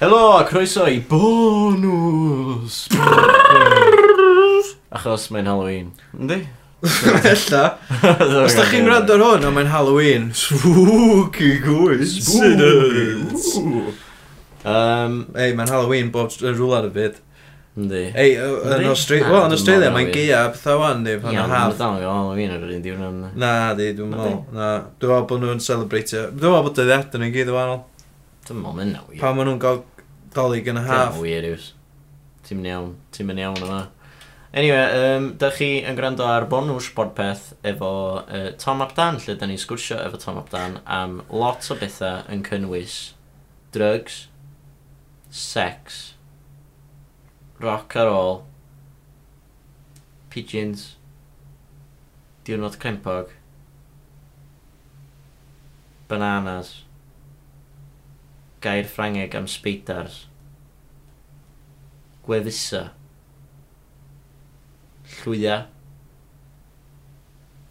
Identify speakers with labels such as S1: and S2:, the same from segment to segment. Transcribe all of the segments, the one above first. S1: Helo, a croeso i bonws! Achos mae'n Halloween. Yndi?
S2: Ella. Os da chi'n gwrando ar hwn, ond mae'n Halloween. Spooky gwys.
S1: Um,
S2: Ei, mae'n Halloween bob tr- rwla ar y byd.
S1: yndi.
S2: Ei, o- yn
S1: Yndi? Na,
S2: Australia, wel, yn
S1: dim
S2: Australia,
S1: ond
S2: mae'n
S1: Halloween.
S2: gia bethau wan, di, pan
S1: Iawn,
S2: yn
S1: mae'n
S2: haf.
S1: dal yn Halloween ar yr un diwrnod. yndi?
S2: Na, di, dwi'n
S1: Na,
S2: meddwl. Na, dwi'n meddwl bod nhw'n celebratio. Dwi'n meddwl bod dyddiadau nhw'n gyd yn wahanol.
S1: Dim ond mae'n nawr.
S2: Pan maen nhw'n gael dolyg yn y haf.
S1: Dim weird yws. Ti'n mynd iawn, ti'n mynd iawn yma. Anyway, um, da chi yn gwrando ar bonws bodpeth efo uh, Tom Abdan, lle da ni'n sgwrsio efo Tom Abdan am lot o bethau yn cynnwys drugs, sex, rock ar ôl, pigeons, diwrnod crempog, bananas, gair ffrangeg am speidars, gweddusa, llwya,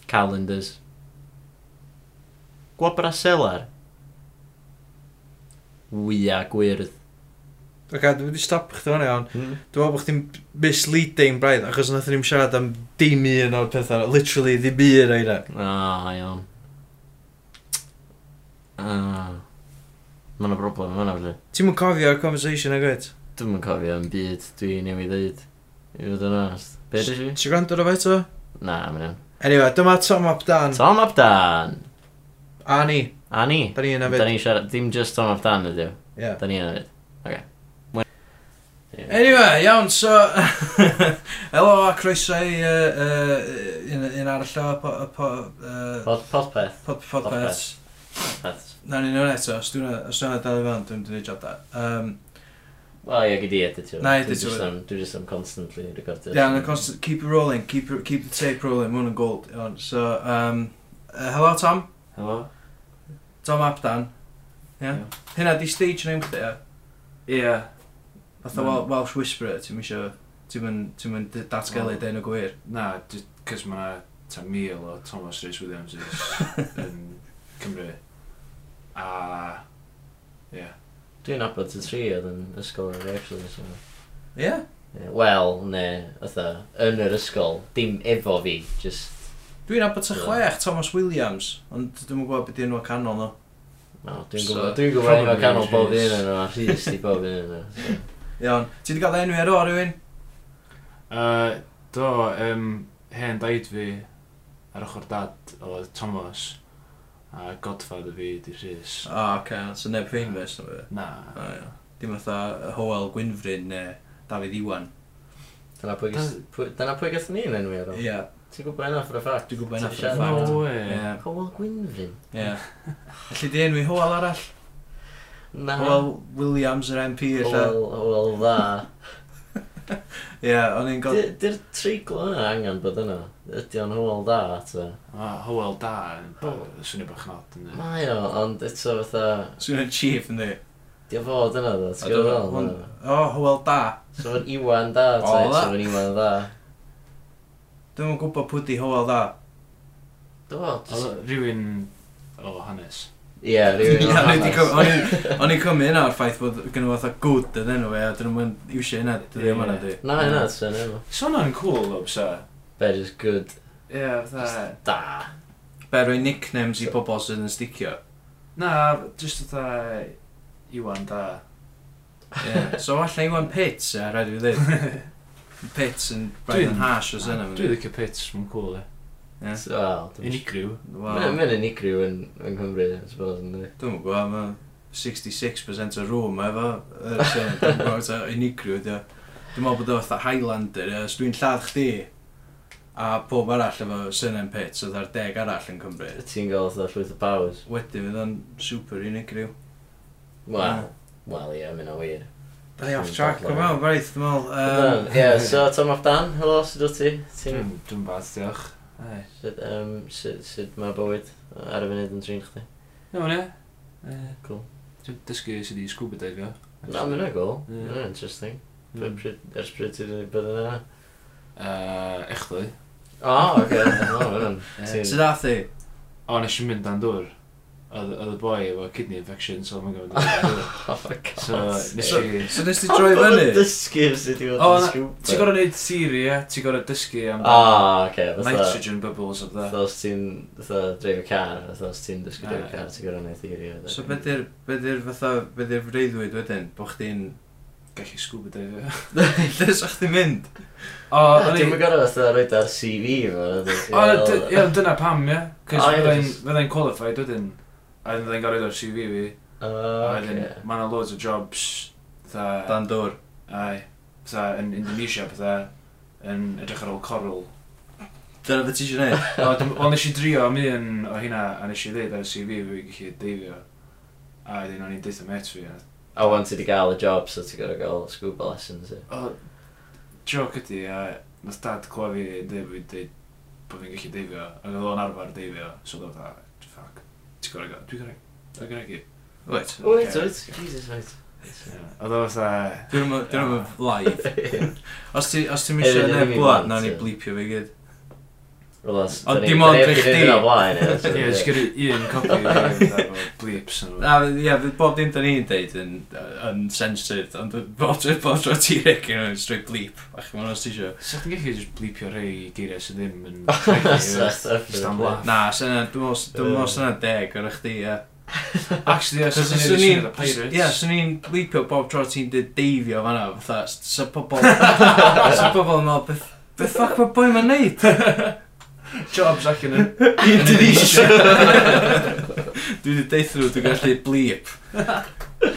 S1: calendars, gwabra selar, wya gwyrdd.
S2: Ok, dwi wedi stop chdi fan iawn. Dwi'n meddwl bod chdi'n misleading braidd, achos nath ni'n siarad am dim un o'r pethau, literally ddim un o'i na.
S1: Ah, iawn. Ah. Mae yna broblem yma, felly.
S2: Ti'n mwyn cofio'r conversation ag oed?
S1: Dwi'n yn cofio yn byd dwi newydd ddeud. I fod yn onest. Be ddys i?
S2: Ti'n gwrando ar o fe eto?
S1: Na, mae'n iawn.
S2: Anyway, dyma Tom Abdan.
S1: Tom Abdan!
S2: A ni,
S1: A ni?
S2: da ni yna
S1: Da
S2: fyd.
S1: ni'n siarad, dim just Tom Abdan ydyw.
S2: Ie.
S1: Da ni yna fyd. Oce. Mwy- Ie.
S2: Anyway, iawn, so... Helo, a croeso i yy, yy, un un arall o po- y po- yy,
S1: Pod- Podpeth.
S2: pod- podpeth.
S1: Podpeth. Podpeth.
S2: Na ni'n o'n eto, os dwi'n os dwi'n dal i fan, dwi'n dwi'n job da. Um,
S1: Wel, ie, gyd i editio.
S2: Na,
S1: Dwi
S2: editio
S1: jyst
S2: fo.
S1: am- Dwi just am constantly recordio.
S2: Yeah, and of course, keep it rolling, keep it, keep the tape rolling, one and gold. iawn. So, um, uh, hello Tom,
S1: Helo?
S2: Tom Abdan. Yeah.
S1: Ie.
S2: Hynna di stage name chdi, ie?
S3: Ie.
S2: Fatha
S3: Mm.
S2: Wel- Welsh Whisperer, ti'n mysio, ti'n mynd, ti'n mynd d- datgelu
S3: Wel.
S2: den o gwir.
S3: Na, cys mae'na ta mil o Thomas Rhys Williams yn Cymru. A... Ie.
S1: Dwi'n abod y tri oedd yn ysgol yn yr actually. So.
S2: Ie? Yeah?
S1: Ie, Wel, ne, otha, yn yr ysgol, dim efo fi, just...
S2: Dwi'n abod y
S1: Ie.
S2: chwech Thomas Williams, ond dwi'n gwybod beth yw enw canol nhw.
S1: No, dwi'n
S3: So,
S1: gwybod, dwi'n gwybod enw
S3: probably
S1: canol bob
S3: Rhys.
S1: un yn yna, rhys di bob un yna.
S2: Iawn, ti wedi cael enw ar o rywun?
S3: Yy, Do, um, hen daid fi ar ochr dad oedd Thomas a godfad y fi di Rhys.
S2: O, oh, oce, okay. so neb famous, nhw.
S3: Na.
S2: O, ie. Dim fatha Hoel Gwynfrin neu Dafydd Iwan.
S1: Dyna pwy gas- pwy- dyna pwy gatho ni'n enw i ar
S2: Ie,
S1: ôl.
S2: yeah.
S1: Ti'n gwybod enw for a fact?
S2: Dwi'n gwbod hynna
S1: Ti
S2: for a
S1: siarad
S2: fact.
S1: am
S3: No
S1: hwnna?
S3: way.
S2: Ie.
S1: Hywel Gwynfrin?
S2: Ie. Alli di enwi Hoel arall?
S1: Na.
S2: Hoel Williams yr MP illa.
S1: Hywel, hywel dda.
S2: Ie, o'n i'n gofyn...
S1: Di- Di'r treiglo yna angen bod yna. Ydy o'n hywel dda, ta.
S3: Ma' Hywel da yn
S1: Hywel.
S3: swnio bach nod yn dweud.
S1: Mae o, ond eto fatha,
S2: Swn i'n chief yn di.
S1: Di o fod yna dda,
S2: A
S1: ti'n gwybod
S2: hwn-
S1: fel?
S2: O, Hoel da.
S1: So fe'n Iwan da,
S2: O,
S1: ta,
S2: dda.
S1: so fe'n Iwan da.
S2: Dwi'n yn gwybod pwy di Hoel da.
S1: Do, jyst-
S3: Oedd rhywun o hanes.
S1: Ie,
S2: Ie,
S1: rhywun
S2: o'n i 'di
S1: hanes.
S2: cym- o'n i'n- o'n i'n cymryd hynna o'r ffaith bod gen nhw fatha good yn enw fe, a dyn nhw'n iwsio hynna, dyn nhw'n hynna di.
S1: Na, yna, ta, yna.
S3: So hwnna'n cool, o bysa.
S1: Be, just good.
S3: Ie, fatha...
S1: Da.
S3: Mm.
S2: Be roi nicknames i pobol sydd yn sticio.
S3: Na, jyst fatha Iwan da.
S2: Ie. So alla Iwan Pits, ie, rhaid i fi ddweud. Pits yn rhaid yn
S3: Dwi'n-
S2: hash os yna.
S3: Dwi ddicio pits, mae'n cool e.
S2: Ie.
S1: Wel, dwi'n
S3: Unigryw.
S2: Wel,
S1: Mae'n unigryw yn, yn Cymru, I suppose, yn dweud.
S2: Dwi'n gwybod, mae 66% o rŵm efo, yy, so dwi'n gwybod ta unigryw, dwi'n dwi'n meddwl bod o fatha Highlander, ie, os dwi'n lladd chdi, a pob arall efo Sunan Pits, oedd ar deg arall yn Cymru.
S1: Ti'n gael oedd llwyth o bawrs.
S2: Wedyn fydd o'n super unigryw.
S1: Wel, wel, ie, mynd o wir.
S2: Da i off track, o mewn, braith, dwi'n meddwl.
S1: Yym, Ie, so Tom Off Dan, helo, sut wyt ti? Ti'n...
S3: Dwi'n dwi'n bad, diolch. Ie,
S1: Sut, um, sut, sut mae bywyd ar y funud yn trin chdi?
S3: mae'n e.
S1: Cool.
S3: Dwi'n dysgu sydd i scuba divio.
S1: Na, mae'n agol.
S3: Ie.
S1: Mae'n interesting. Pry-
S3: Mm.
S1: pryd- Ers pryd ti'n bod yn yna?
S3: Yy, Echdwy.
S1: O, oce. O, mae'n
S3: Ie.
S2: Sut ath i?
S3: O, nes i'n mynd dan dŵr. Oedd oedd y boi efo kidney infection, so mae'n gofyn dweud.
S1: Oh my god.
S3: So, nes
S2: So-
S3: i...
S2: So nes ti droi fyny?
S1: Dysgu sydd wedi
S3: O,
S1: bod yn
S3: na- Ti'n
S1: sgwpa.
S3: gorau neud theory, ie? Ti'n gorau dysgu am
S1: Ah, oce. Fatha,
S3: nitrogen bubbles of that.
S1: fatha os ti'n, fatha, dreif y car, fatha os ti'n dysgu dreif y
S3: Ah.
S1: car, ti'n gorau neud theory. o,
S2: So
S1: de.
S2: be di'r be di'r fatha, be di'r freuddwyd wedyn? Bo chdi'n...
S3: Gallu scuba dive.
S2: Lle sa chdi'n mynd?
S3: O,
S1: Na,
S3: o'n i...
S1: Dwi'm yn gorau fatha roed ar CV fo.
S3: O, d- ie, dyna pam, ie? Cos
S1: O, ie, jyst-
S3: fydda'n qualified wedyn. A fydda'n gorau o'r CV fi. A wedyn,
S1: Oce.
S3: mae yna loads o jobs, fatha,
S2: Dan dŵr.
S3: ai, fatha, yn Indonesia, fatha, yn edrych ar ôl coral.
S2: Dyna fe ti eisiau neud?
S3: O, dym- Wel, nes i drio am un o hynna, a nes i ddeud ar y CV fi gallu deifio. A wedyn o'n i'n deitha met fi. a-
S1: A wan ti di gael y job, so ti'n gorau gael scuba lessons. ie.
S3: O, joc ydi, a nath dad clywed fi yn deud fi'n deud bod fi'n gallu deifio. Ac oedd o'n arfer deifio, so oedd o'n ffac. Ti'n gorau gael, dwi'n gorau, dwi'n gorau gael.
S2: Wait.
S1: Oh, Wait, wait, Jesus, wait.
S3: Oedd o'n fatha,
S2: Dwi'n yma live. Os ti, os ti'n
S1: Edit
S2: misio
S1: i fi
S2: neb blad,
S1: blant,
S2: nawn ni
S1: ie.
S2: blipio fi gyd.
S1: Wel, os-
S3: Oh,
S2: Ond
S1: dan ni-
S2: dim
S1: dan ni
S2: ond i
S1: heb 'di
S2: chdi.
S1: neud hynna o blaen, ie, so-
S3: ie, jyst gyrru un copi fi, fatha, bleeps. yn
S2: A, ie, fydd bob dim da ni'n deud yn, yn sensitive, ond bob tro, bob tro ti'n regio nhw'n straight bleep, a chi mwyn os ti eisiau.
S3: Sa chdi'n gallu just bleepio rei geiriau sydd ddim yn...
S1: Sa- sa-
S3: Just am laff.
S2: Na, syna, dwi'n mwyn, dwi'n mwyn syna deg o'r chdi, ie.
S3: Actually, yeah,
S2: Cos
S3: sy'n
S2: swn
S3: ei
S2: i'n,
S3: wneud y Pirates.
S2: ie, swn i'n bleepio bob tro ti'n dweud deifio fanna, fatha, s- sa pobol, sa pobol yn meddwl, beth, beth ffac mae boi ma'n neud?
S3: Jobs ac yn y...
S2: Indonesia. Dwi wedi deud nhw, dwi'n gallu bleep.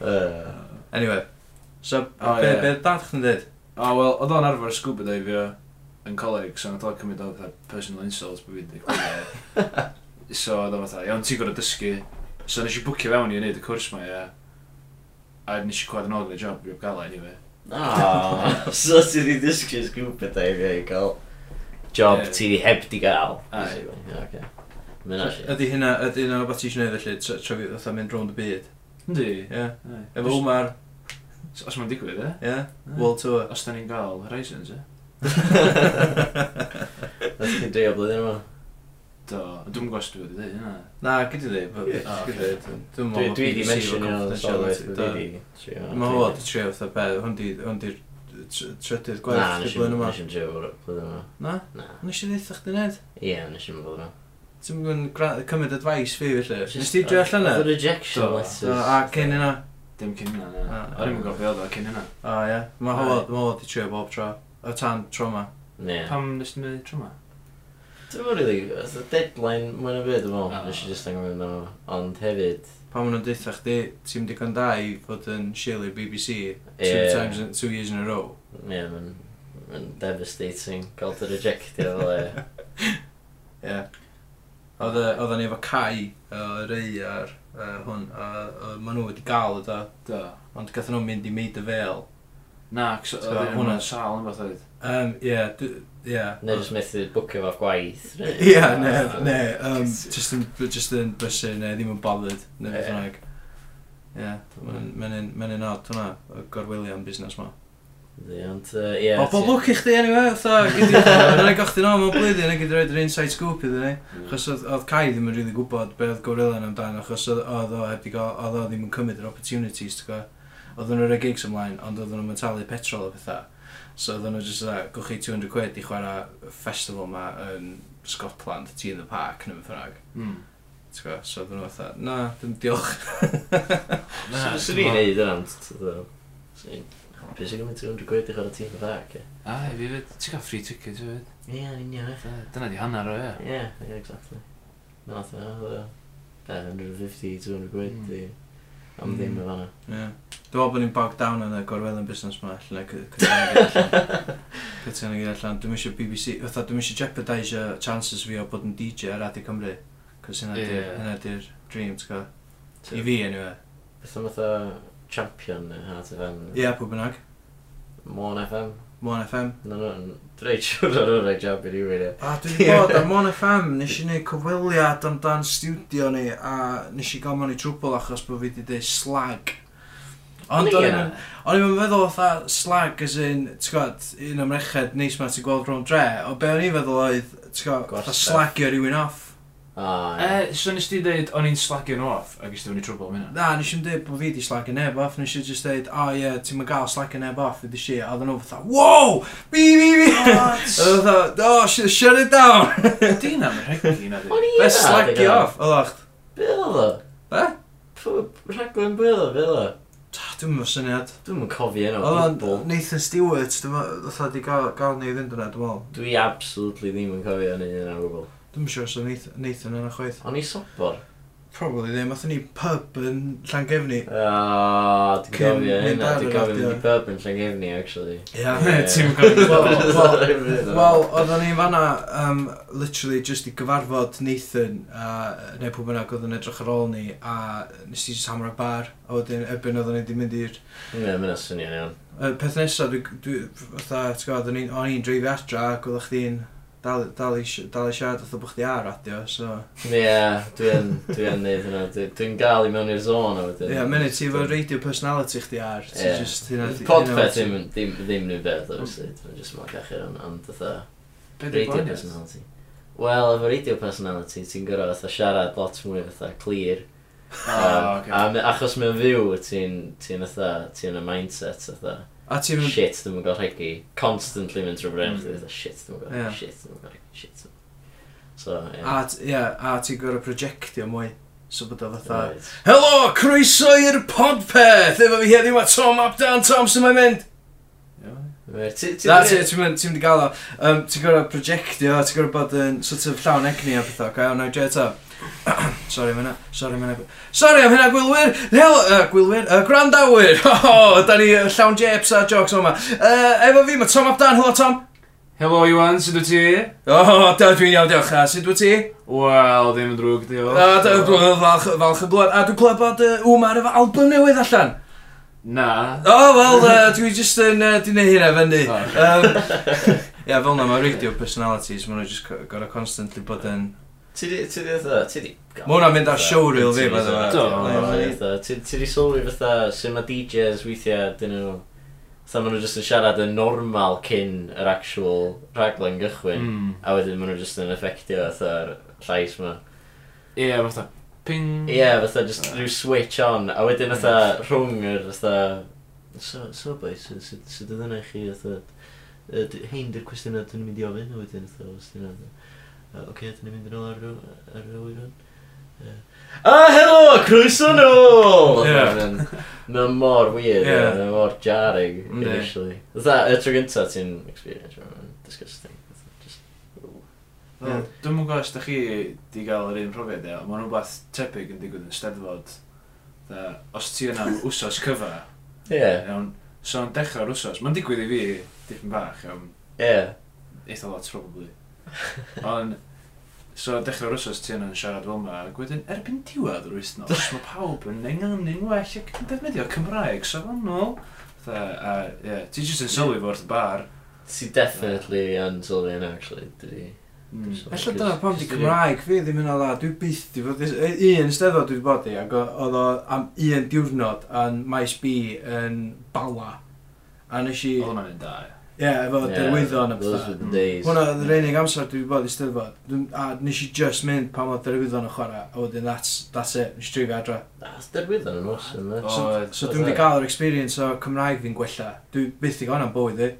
S1: Yy.
S2: Anyway, so,
S3: O,
S2: be,
S3: ie.
S2: be dad chdi'n dweud?
S3: O, wel, Oh, oedd o'n arfer scuba dive yn coleg, so nath o'n cymryd o fatha personal insults bod fi'n dweud. So oedd o'n fatha, iawn, ti'n gorau dysgu. So nes i bwcio fewn i wneud y cwrs ma, ia. A nes i cwad yn ôl gyda job, rhywbeth gael anyway.
S1: O, Ah, so ti di dysgu scuba dive i gael job
S3: Ie.
S1: ti heb di gael.
S3: Aye.
S1: basically. Ie, oce. Ma' hynna shit.
S2: Ydy hynna, ydy hynna beth ti'n gwneud felly, tra- tra fi fatha mynd rownd y byd.
S3: Yndi.
S2: Ie.
S3: Aye.
S2: Efo Umar,
S3: Os- Os mae'n digwydd, e?
S2: ie? World Tour.
S3: Os da ni'n gael Horizons, e?
S1: Nath chi dreio blwyddyn yma?
S3: Do. Dwi'n gwybod os dwi wedi dweud hynna.
S2: Na, gyda di. but-
S1: Ie.
S2: o, gyda di. Dwi'n
S1: Dwi
S2: meddwl
S1: dwi di
S2: bod BBC
S1: mention
S2: efo
S1: iawn,
S2: confidentiality,
S1: sôn
S2: do.
S1: dwi di trio.
S2: Mae hwn wedi trio fatha be, hwn di, hwn di'r tr- trydydd
S1: Na,
S2: gwaith
S1: nes
S2: ti
S1: i-
S2: blwyddyn yma.
S1: nes i'n trio fo- blwyddyn yma.
S2: Na?
S1: Na.
S2: Nes i ddeitha chdi wneud?
S1: Ie, nes i'n bod yma.
S2: Ti'n mynd gwra- cymryd advice fi felly? Nes
S1: Just-
S2: ti drio allan e?
S1: Oedd y
S2: yna?
S1: rejection
S3: Do.
S1: letters.
S2: A cyn yna?
S3: Dim cyn hynna, na.
S2: Ah.
S3: O'n i'n gwybod beth oedd o cyn hynna.
S2: O ie. Mae hwn mae hwn wedi trio bob tro. O tan tro ma.
S1: Ie.
S3: Pam nes ti'n mynd tro ma?
S1: Dwi'n fawr rili, oedd y deadline mwyn y byd yn fawr,
S3: Ah.
S1: nes i jyst angen mynd yma. Ond hefyd,
S2: Pan maen nhw'n deitha chdi, ti'n digon da i fod yn shielu'r BBC two
S1: Ie.
S2: times, in- two years in a row.
S1: ie, mae'n mae'n devastating gael dy rejectio fel e.
S2: Ie. Oedd y- Oedden ni efo Cai, o rei ar yy, hwn, a a maen nhw wedi gael o da,
S3: Do.
S2: ond gathen nhw'n mynd i Maid y Vale.
S3: Na, cos
S2: So,
S3: oedd
S2: hwnna-
S3: hwnna'n sal yn fath oedd.
S2: Um, ie, dw- ie.
S1: Neu jyst methu bwcio fo gwaith. neu-
S2: Ie, ne, ne, um, just yn, just yn brysur, ne, ddim yn bothered, ne,
S1: Ie.
S2: beth bynnag. Ie, mae'n un, mae'n un odd, hwnna, y gorwylio am busnes ma.
S1: Yndi, Ond, yy, ie.
S2: O, bob
S1: ti-
S2: lwc i chdi, anyway, fatha, gyd i, rhaid gochdi nôl mewn blwyddyn, a gyd i roed yr inside scoop iddyn ni.
S1: Mm.
S2: Chos oedd oedd Cai ddim yn rili gwybod be oedd Gorillion amdano, achos oedd oedd o heb i gael, oedd o ddim yn cymryd yr opportunities, ti'n gwybod? Oedden nhw'n rhoi gigs ymlaen, ond oedden nhw'n talu petrol o bethau. So oedden nhw'n just dda, gwch chi 200 quid i chwarae festival ma yn Scotland, Tea in the Park, neu beth bynnag.
S3: Mm.
S2: Ti'n gwybod? So oedden nhw'n fatha, na, dim diolch.
S1: S- Swn i'n neud yna, ond, tydw. Swn i'n hapus i gymryd 200 quid i chwarae tîm y fac, ie.
S3: A, fi fyd, ti'n cael free ticket, fi fyd.
S1: Ie, yn union, ie.
S3: Dyna di hanner o, ie.
S1: Ie, ie, exactly. Na, oedd yna, oedd 150, 200
S2: Hmm.
S1: quid i... Am ddim yn fanna.
S2: Ie. Dwi'n meddwl bod ni'n bogged down yn y gorwelion busnes ma, lle cytuno gyd allan. Dwi'n eisiau BBC, fatha dwi'n eisiau jeopardise chances fi o bod yn DJ ar Radio Cymru. Cos hynna
S3: Ie.
S2: di'r- hynna di'r dream, ti'n gwybod? I fi, anyway.
S1: Beth am fatha champion neu Heart FM?
S2: Ie, yeah, pwy bynnag.
S1: Mon FM?
S2: Mon FM.
S1: No, no, dreid siwr ar hwnna job i rywun e.
S2: A dwi wedi bod ar Mon FM, nes i wneud cyfweliad amdan studio ni, a nes i gael mewn i trwbl achos bod fi wedi dweud slag. Ond o'n i'n O'n i'n meddwl fatha slag as in, ti'n gwybod, un am reched neis ma ti'n gweld rhwng dre, o be o'n i'n feddwl oedd, ti'n gwybod, fatha
S1: Gwastraff.
S2: slagio rhywun off.
S1: O, Ah,
S3: E, so nes ti dweud, o'n i'n slagio'n off, ac ysdi o'n i trwbl am hynna.
S2: Na, nes i'n dweud bod fi di slag yn eb off, nes i'n just dweud, o oh, ie, yeah, ti'n ma gael slag yn eb off, ydy si, a oedden nhw fatha, wow, bi, bi, bi, a
S3: What?
S2: oedden nhw fatha, oh, sh shut it down,
S3: Di na mae'n rhegi na
S1: O'n
S3: di.
S1: i yna,
S2: best slag
S1: digon.
S2: off, oedden nhw,
S1: Be oedd o?
S2: Be?
S1: Pw- Rhaglen be oedd o, be oedd o?
S2: dwi'n mynd syniad.
S1: Dwi'm yn cofio enw o
S2: Oedden
S1: gwbl.
S2: nhw, Nathan Stewart, dwi'n meddwl, di gael gael ni fynd yna, dwi'n meddwl.
S1: Dwi absolutely ddim yn cofio enw enw o gwbl.
S2: Dwi'n siŵr sy'n Nathan, Nathan yna chwaith.
S1: O'n i sobor.
S2: Probably ddim, oedden ni pub yn Llangefni.
S1: Ah, dwi'n
S2: Cyn
S1: cofio
S2: mynd
S1: hynna.
S2: ar
S1: Dwi'n
S2: yr
S1: cofio mynd
S2: radio.
S1: i pub yn Llangefni, actually.
S2: Ia.
S3: Ti'n gwybod.
S2: Wel, oedden ni fanna, um, literally, just i gyfarfod Nathan, a neu pwy bynnag oedd yn edrych ar ôl ni, a nes i just hammer y bar, a wedyn erbyn oedden ni wedi mynd i'r...
S1: Ne, mae'n syniad iawn.
S2: Y peth nesaf, dwi, dwi, fatha, ti'n gwybod, o'n i'n- o'n i'n dreifio adra, ac oeddech chdi'n dal, dal, i, si- dal i siarad, oedd bych chdi ar radio, so...
S1: Ie, dwi'n dwi'n neud hynna. Dwi- Dwi'n gael i mewn i'r zon o
S2: Ie,
S1: wedyn.
S2: yeah, minute, ti efo radio personality chdi ar, ti
S1: Ie.
S2: just hynna...
S1: Podpeth ddim yn- ddim ddim nhw'n beth, obviously. Dwi'n just mor gachur yn, ond fatha...
S3: Be di
S1: Radio
S3: gwaniaeth?
S1: personality. Wel, efo radio personality, ti'n gorau fatha siarad lot mwy fatha clir. A
S3: Ah, oce.
S1: me- achos mewn fyw, ti'n ti'n fatha, ti'n y mindset fatha.
S2: A ti'n mynd...
S1: Shit, dwi'n gael rhegi. Constantly mynd trwy brem,
S3: Mm.
S1: dwi'n fatha, shit, dwi'n gael
S2: Ie. Ah,
S1: rhegi, shit, dwi'n gael rhegi, shit. dwi'm yn- So, ie.
S2: A, t- ie, a ti'n gorau projectio mwy, so bod o fatha...
S1: Right.
S2: Helo, croeso i'r podpeth! Efo fi heddiw a Tom Apdown Thompson mae'n mynd!
S1: um,
S3: Iawn.
S1: Right, ti- ti-
S2: Na, ti- ti'n mynd, ti'n mynd i gael o. Um, ti'n gorau projectio, ti'n gorau bod yn sort of llawn egni a pethau, gael o'n edrych eto. Sorry am hynna, sorry am hynna. Sorry am hynna, gwylwyr! Hel, uh, gwylwyr, uh, grandawyr! Ho, ho, da ni yy, llawn jeps a jocs o'ma. Uh, efo fi, mae Tom Apdown, helo Tom!
S3: Helo Iwan, sut wyt ti?
S2: O, oh, da, dwi'n iawn, diolch. A sut wyt ti?
S3: Wel, ddim yn drwg,
S2: O,
S3: diolch.
S2: da, dwi'n falch, falch yn glwad. A dwi'n clywed bod uh, Wmar efo album newydd allan.
S3: Na.
S2: O, oh, wel, uh, dwi just yn, uh, dwi'n neud hynna fyny.
S3: O.
S2: Um, Ie, fel na, mae radio personalities, mae nhw just co- gorau constantly bod yn...
S1: Ti di, ti di fatha, ti di...
S2: Ma' hwnna'n mynd ar showreel fi, by the way.
S1: Do,
S3: Do.
S1: ma' hwnna'n fatha, ti ti di sylwi fatha, sy'n ma DJs weithiau, dyn nhw... Fatha maen nhw jyst yn siarad yn normal cyn yr actual raglen gychwyn.
S3: Mm.
S1: A wedyn maen nhw jyst yn effectio fatha'r llais ma.
S3: Ie, fatha. Ping.
S1: Ie, yeah, fatha just
S3: Ie.
S1: rhyw switch on, a wedyn fatha rhwng yr fatha... So, so boi, sut so, so, so yna i chi fatha... yy, d- Hein, dy'r cwestiynau dyn ni'n mynd i ofyn, a wedyn fatha, os dyn nhw... Oce, okay, dyn ni'n mynd yn ôl ar rhyw- ar y wyron. A helo, croeso nôl!
S2: Ie.
S1: Mae'n mor weird,
S2: Ie.
S1: yeah. mae'n mor jarring,
S2: Yndi.
S1: initially. Fatha, y tro gynta ti'n experience, mae'n disgusting. Fatha, just-
S3: Wel, Dwi'm yn gwybod os da chi di gael yr un profiad ia, mae'n rhywbeth tebyg yn digwydd yn steddfod. Da, os ti yna am wsos cyfa,
S1: Ie,
S3: iawn, so yn dechrau'r wsos, mae'n digwydd i fi dipyn bach, iawn,
S1: ie.
S3: eitha lot probably. Ond, so dechrau'r wsos ti yna'n siarad fel yma, ac wedyn erbyn diwedd yr wythnos, mae pawb yn enganu'n well ac yn defnyddio Cymraeg safonol. Da, a ie, ti jyst yn sylwi fo wrth y bar.
S1: Ti definitely yn sylwi yna, actually, dydi.
S3: Mm.
S2: Ella dyna pam di Cymraeg fi ddim yn ala, dwi byth di fod... yy, Un steddfod dwi wedi bod i, ac o- oedd o am un diwrnod yn maes B yn Bala. A nes i...
S3: Oedd
S2: Ie,
S3: hwnna'n un da, ie.
S2: efo derwyddon a
S1: Those were
S2: pethau.
S1: the days.
S2: Hwna oedd yr unig amser dwi wedi bod i steddfod. Dwi'n- A nes i just mynd pam oedd derwyddon yn chwarae, a wedyn that's, that's it, nes i drifio adra.
S1: That's derwyddon yn awesome, eh?
S2: So,
S3: Oedd.
S2: so dwi'n wedi
S1: Oedd.
S2: cael yr experience o Cymraeg fi'n gwella. Dwi byth i gael hwnna'n bywyd i.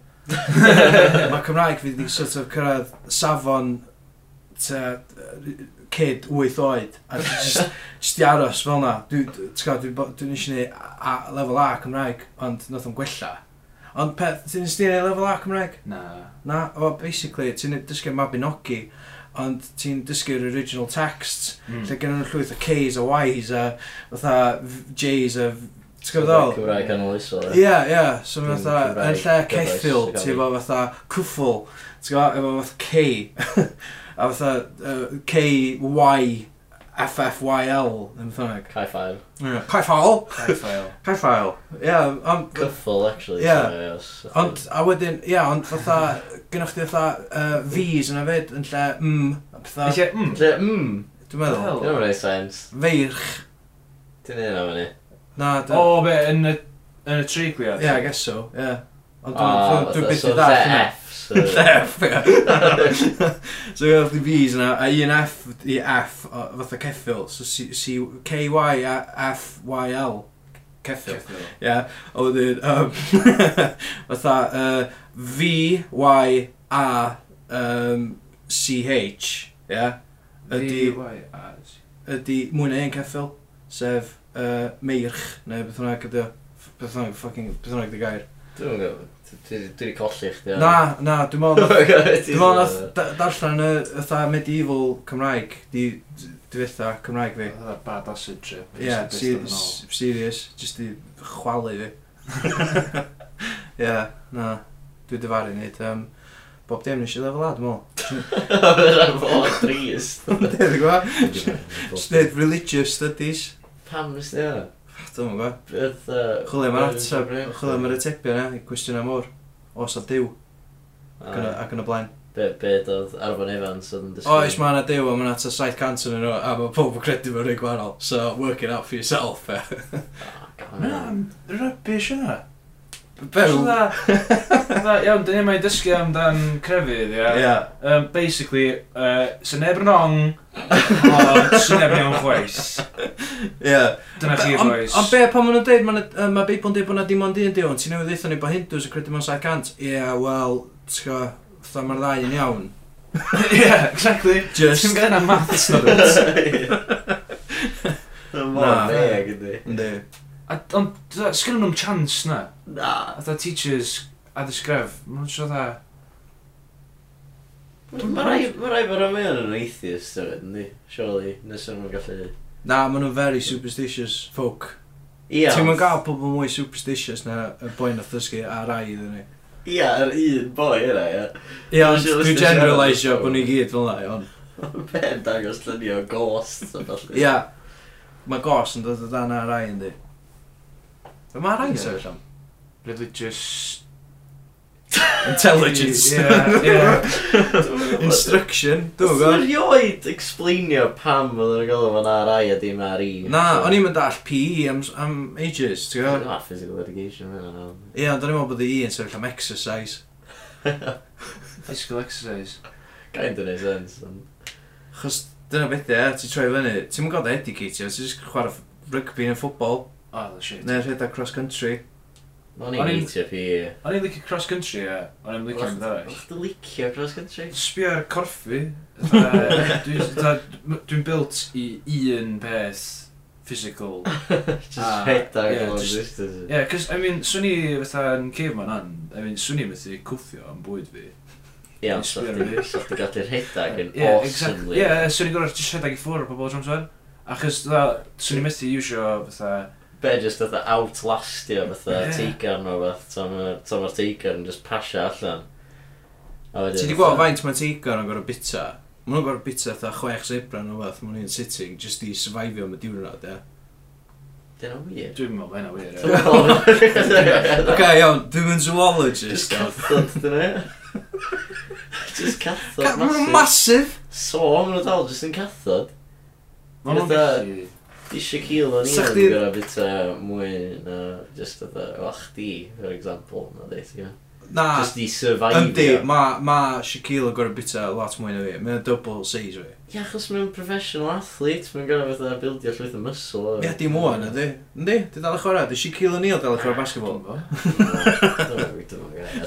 S2: Mae Cymraeg fi wedi sort of cyrraedd safon ta, yy, kid 8 oed. A dwi jyst jyst i aros fel na. Dwi'n dwi, bo- dwi eisiau gwneud A, A- level A Cymraeg, ond nath o'n gwella. Ond peth, ti'n ysdi neud level A Cymraeg?
S3: Na.
S2: Na, o, basically, ti'n dysgu Mabinogi, ond ti'n dysgu'r original texts,
S3: Mm.
S2: lle gen nhw llwyth o Ks a Ys a fatha v- Js a... v- Ti'n gwybod ddol?
S1: Cymraeg canoloesol,
S2: Ie, ie, so mae
S1: Dim
S2: fatha, yn
S1: Cymraeg
S2: lle
S1: gyfoes,
S2: ceffil,
S1: ti'n
S2: ti efo fatha cwffl, ti'n gwybod, efo fatha K, a fatha uh, KY, FFYL, yn ffynag.
S1: High five.
S2: Caiffael?
S3: Caiffael.
S2: Caiffael, ie, ond...
S1: Cyffl, actually.
S2: Ie.
S1: sorry, os-
S2: Ond, a wedyn, ie, ond fatha, gynnwch chi fatha uh, Vs yna fyd, yn lle M, a petha,
S3: Felly, mm,
S1: Lle, mm,
S2: dwi'n meddwl.
S1: dyna mae'n ei sens.
S2: Feirch,
S1: Ti'n ei na fyny.
S2: na, dwi'n...
S3: O, be, yn y, yn y treigliad?
S2: Ie, I guess so, ie. Ond
S1: Ah,
S2: dwi'n-
S1: fatha,
S2: dwi'n byth
S1: Ah, so
S2: i ddall
S1: the
S2: hynna.
S1: Fs.
S2: Theft, ia. So gael chdi B's yna, a un F i F, o- fatha ceffil. So C- C- K-Y a F-Y-L. Ceffil. Ia, a wedyn, yym, fatha, uh, yy, V-Y-A, yym, C-H, ia, Ydy- ydi mwy na un ceffil, sef yy, meirch, neu beth bynnag ydi o. Beth bynnag, fucking, beth bynnag 'di gair.
S1: Dwi'n gwybod. Dwi wedi colli chdi.
S2: Na, na, dwi'n meddwl nath-
S1: Dwi'n
S2: Dwi'n meddwl nath da- darllen y fatha medieval Cymraeg, di ddiwetha Cymraeg fi.
S3: Oedd bad acid trip.
S2: Ie, si- s- serious, jyst i chwalu fi. Ie, na, dwi dyfaru neud. Um, bob dim nes i lefel A, dwi'n meddwl.
S1: Fyna fo, drist.
S2: Dwi'n gwa, jyst neud religious studies.
S1: Pam nes di hwnna?
S2: Dwi'n gwa.
S1: Beth...
S2: Chwilio mae'r ateb, chwilio mae'r atebion na, i cwestiynau mor. Os a diw, ac
S1: Ah,
S2: yn y- ac yn y blaen.
S1: Be, be doedd Arfon Evans oedd yn
S2: Oes, mae yna dew a mae yna ta 700 yn nhw a mae pob yn credu mewn rhai gwahanol. So, work it out for yourself, e.
S1: Ah,
S3: Mae'n rybys yna.
S2: Bew.
S3: Iawn, dyn ni mae'n dysgu amdan crefydd, ia.
S2: Ia.
S3: Um, basically, uh, sy'n neb yn ong, ond sy'n neb iawn chwaith.
S2: Ia.
S3: Dyna chi,
S2: Ond-
S3: boys.
S2: Ond be, pan maen nhw'n dweud, mae Beibl yn dweud bod yna dim ond un dew, ond ti'n newydd ddeithio ni bod Hindus yn credu mewn 700? Ia, wel, ti'n go, fatha mae'r ddau yn iawn.
S3: Yeah, exactly. Ti'n
S2: Just.
S3: gael yna maths na dwi.
S1: Mor deg ydi.
S2: Ynddi.
S3: Ond dyna- sgynnon nhw'n chance na.
S1: Na.
S3: Atha teachers a ddysgref. Mae'n siarad dda.
S1: Mae rai bod o'n mynd yn atheist o'n ydi. Surely, nes o'n nhw'n gallu...
S2: Na, maen nhw'n very superstitious folk.
S1: Ia.
S2: Ti'n mwyn gael pobl mwy superstitious na y boi na ddysgu a rai iddyn ni.
S1: Ia, yr un boi yna, ia.
S2: Ia, ond
S1: Dwi'n siŵr os
S2: dwi'n
S1: ti'n siarad
S2: generalisio
S1: am-
S2: bod ni gyd fel yna, ond.
S1: Be yn dangos llunio ghosts a falle.
S2: Ia, mae gos yn dod o dan ar rai yndi. Mae rai yn
S3: Ie.
S2: sefyll am.
S3: Religious...
S2: Intelligence.
S3: Ie, ie.
S2: Instruction,
S1: Dwi'n
S2: dwi'n
S1: gwybod.
S2: gwybod.
S1: Dwi'n rioed explainio pam oedd yn gael o'n ar ai a dim ar i.
S2: Na, o'n i'n mynd all PE am, am ages, ti'n gwybod?
S1: Na, physical education fe na.
S2: Ie, ond o'n i'n meddwl bod y E yn sefyll am exercise.
S3: Physical exercise.
S1: Kind of neud sense. ond-
S2: Chos dyna beth e, ti'n troi fyny, ti'n mynd gael educatio, ti'n just chwarae f- rygbi neu ffwbol,
S3: Oh, the shit.
S2: neu rhedeg cross country.
S1: O'n
S3: O'n
S1: i'n
S3: i'n-
S1: eitio fi.
S3: O'n i'n licio cross country, ie. O'n i'n licio am ddau.
S1: O'ch di licio cross country?
S3: Sbio ar corffi. fatha, dwi- fatha, m- Dwi'n built i un peth physical.
S1: Just
S3: Ah,
S1: rhedeg
S3: ie,
S1: yeah,
S3: just-
S1: distance.
S3: Ie, yeah, cos, I mean, swn i fatha yn caveman an, I mean, swn i methu cwffio am bwyd fi.
S1: Ie,
S3: Ie,
S1: ond sa'ch di- sa'ch di gallu rhedeg yn
S3: Ie, exactly.
S1: awesomely.
S3: Ie, swn i'n gorau jyst rhedeg i ffwrdd o bobl drams o'n. Achos, fatha, swn i methu iwsio fatha...
S1: Be just oedd outlastio fatha
S3: Ie.
S1: teigar neu beth. Tom o'r teigar yn just pasio allan.
S2: Ti di gweld faint mae teigar yn gorau bita? Mae nhw'n gorau bita eitha chwech zebra neu beth, mae nhw'n sitting, just i survivio am y diwrnod, ie.
S1: Dyna wir.
S3: Dwi'n meddwl, mae'n awyr.
S1: Dwi'n meddwl-
S2: Ok, iawn, dwi'n yn zoologist.
S1: Just
S2: iawn.
S1: cathod, dyna e. Just cathod
S2: Ca- Ma' nhw'n
S1: massive.
S2: massive!
S1: So, maen nhw dal just yn cathod.
S3: Mae'n nhw'n
S1: Fatha-
S3: gallu...
S1: Di eisiau cil o'n
S2: Sa
S1: i'n
S2: chdi-
S1: gwrdd bita mwy na just oedd o chdi, for example, na dweud. ie.
S2: Na,
S1: Just di survive.
S2: Ah. yndi, mae ma Shaquille yn gorau bita lot mwy na fi. Mae'n double size fi.
S1: Ia, achos mae'n professional athlete, mae'n gorau fatha bildio llwyth o muscle.
S2: Ie, dim o'n, ydi. Yndi, di dal y chwarae. Di Shaquille O'Neal dal y chwarae basketball.
S3: Dwi'n meddwl.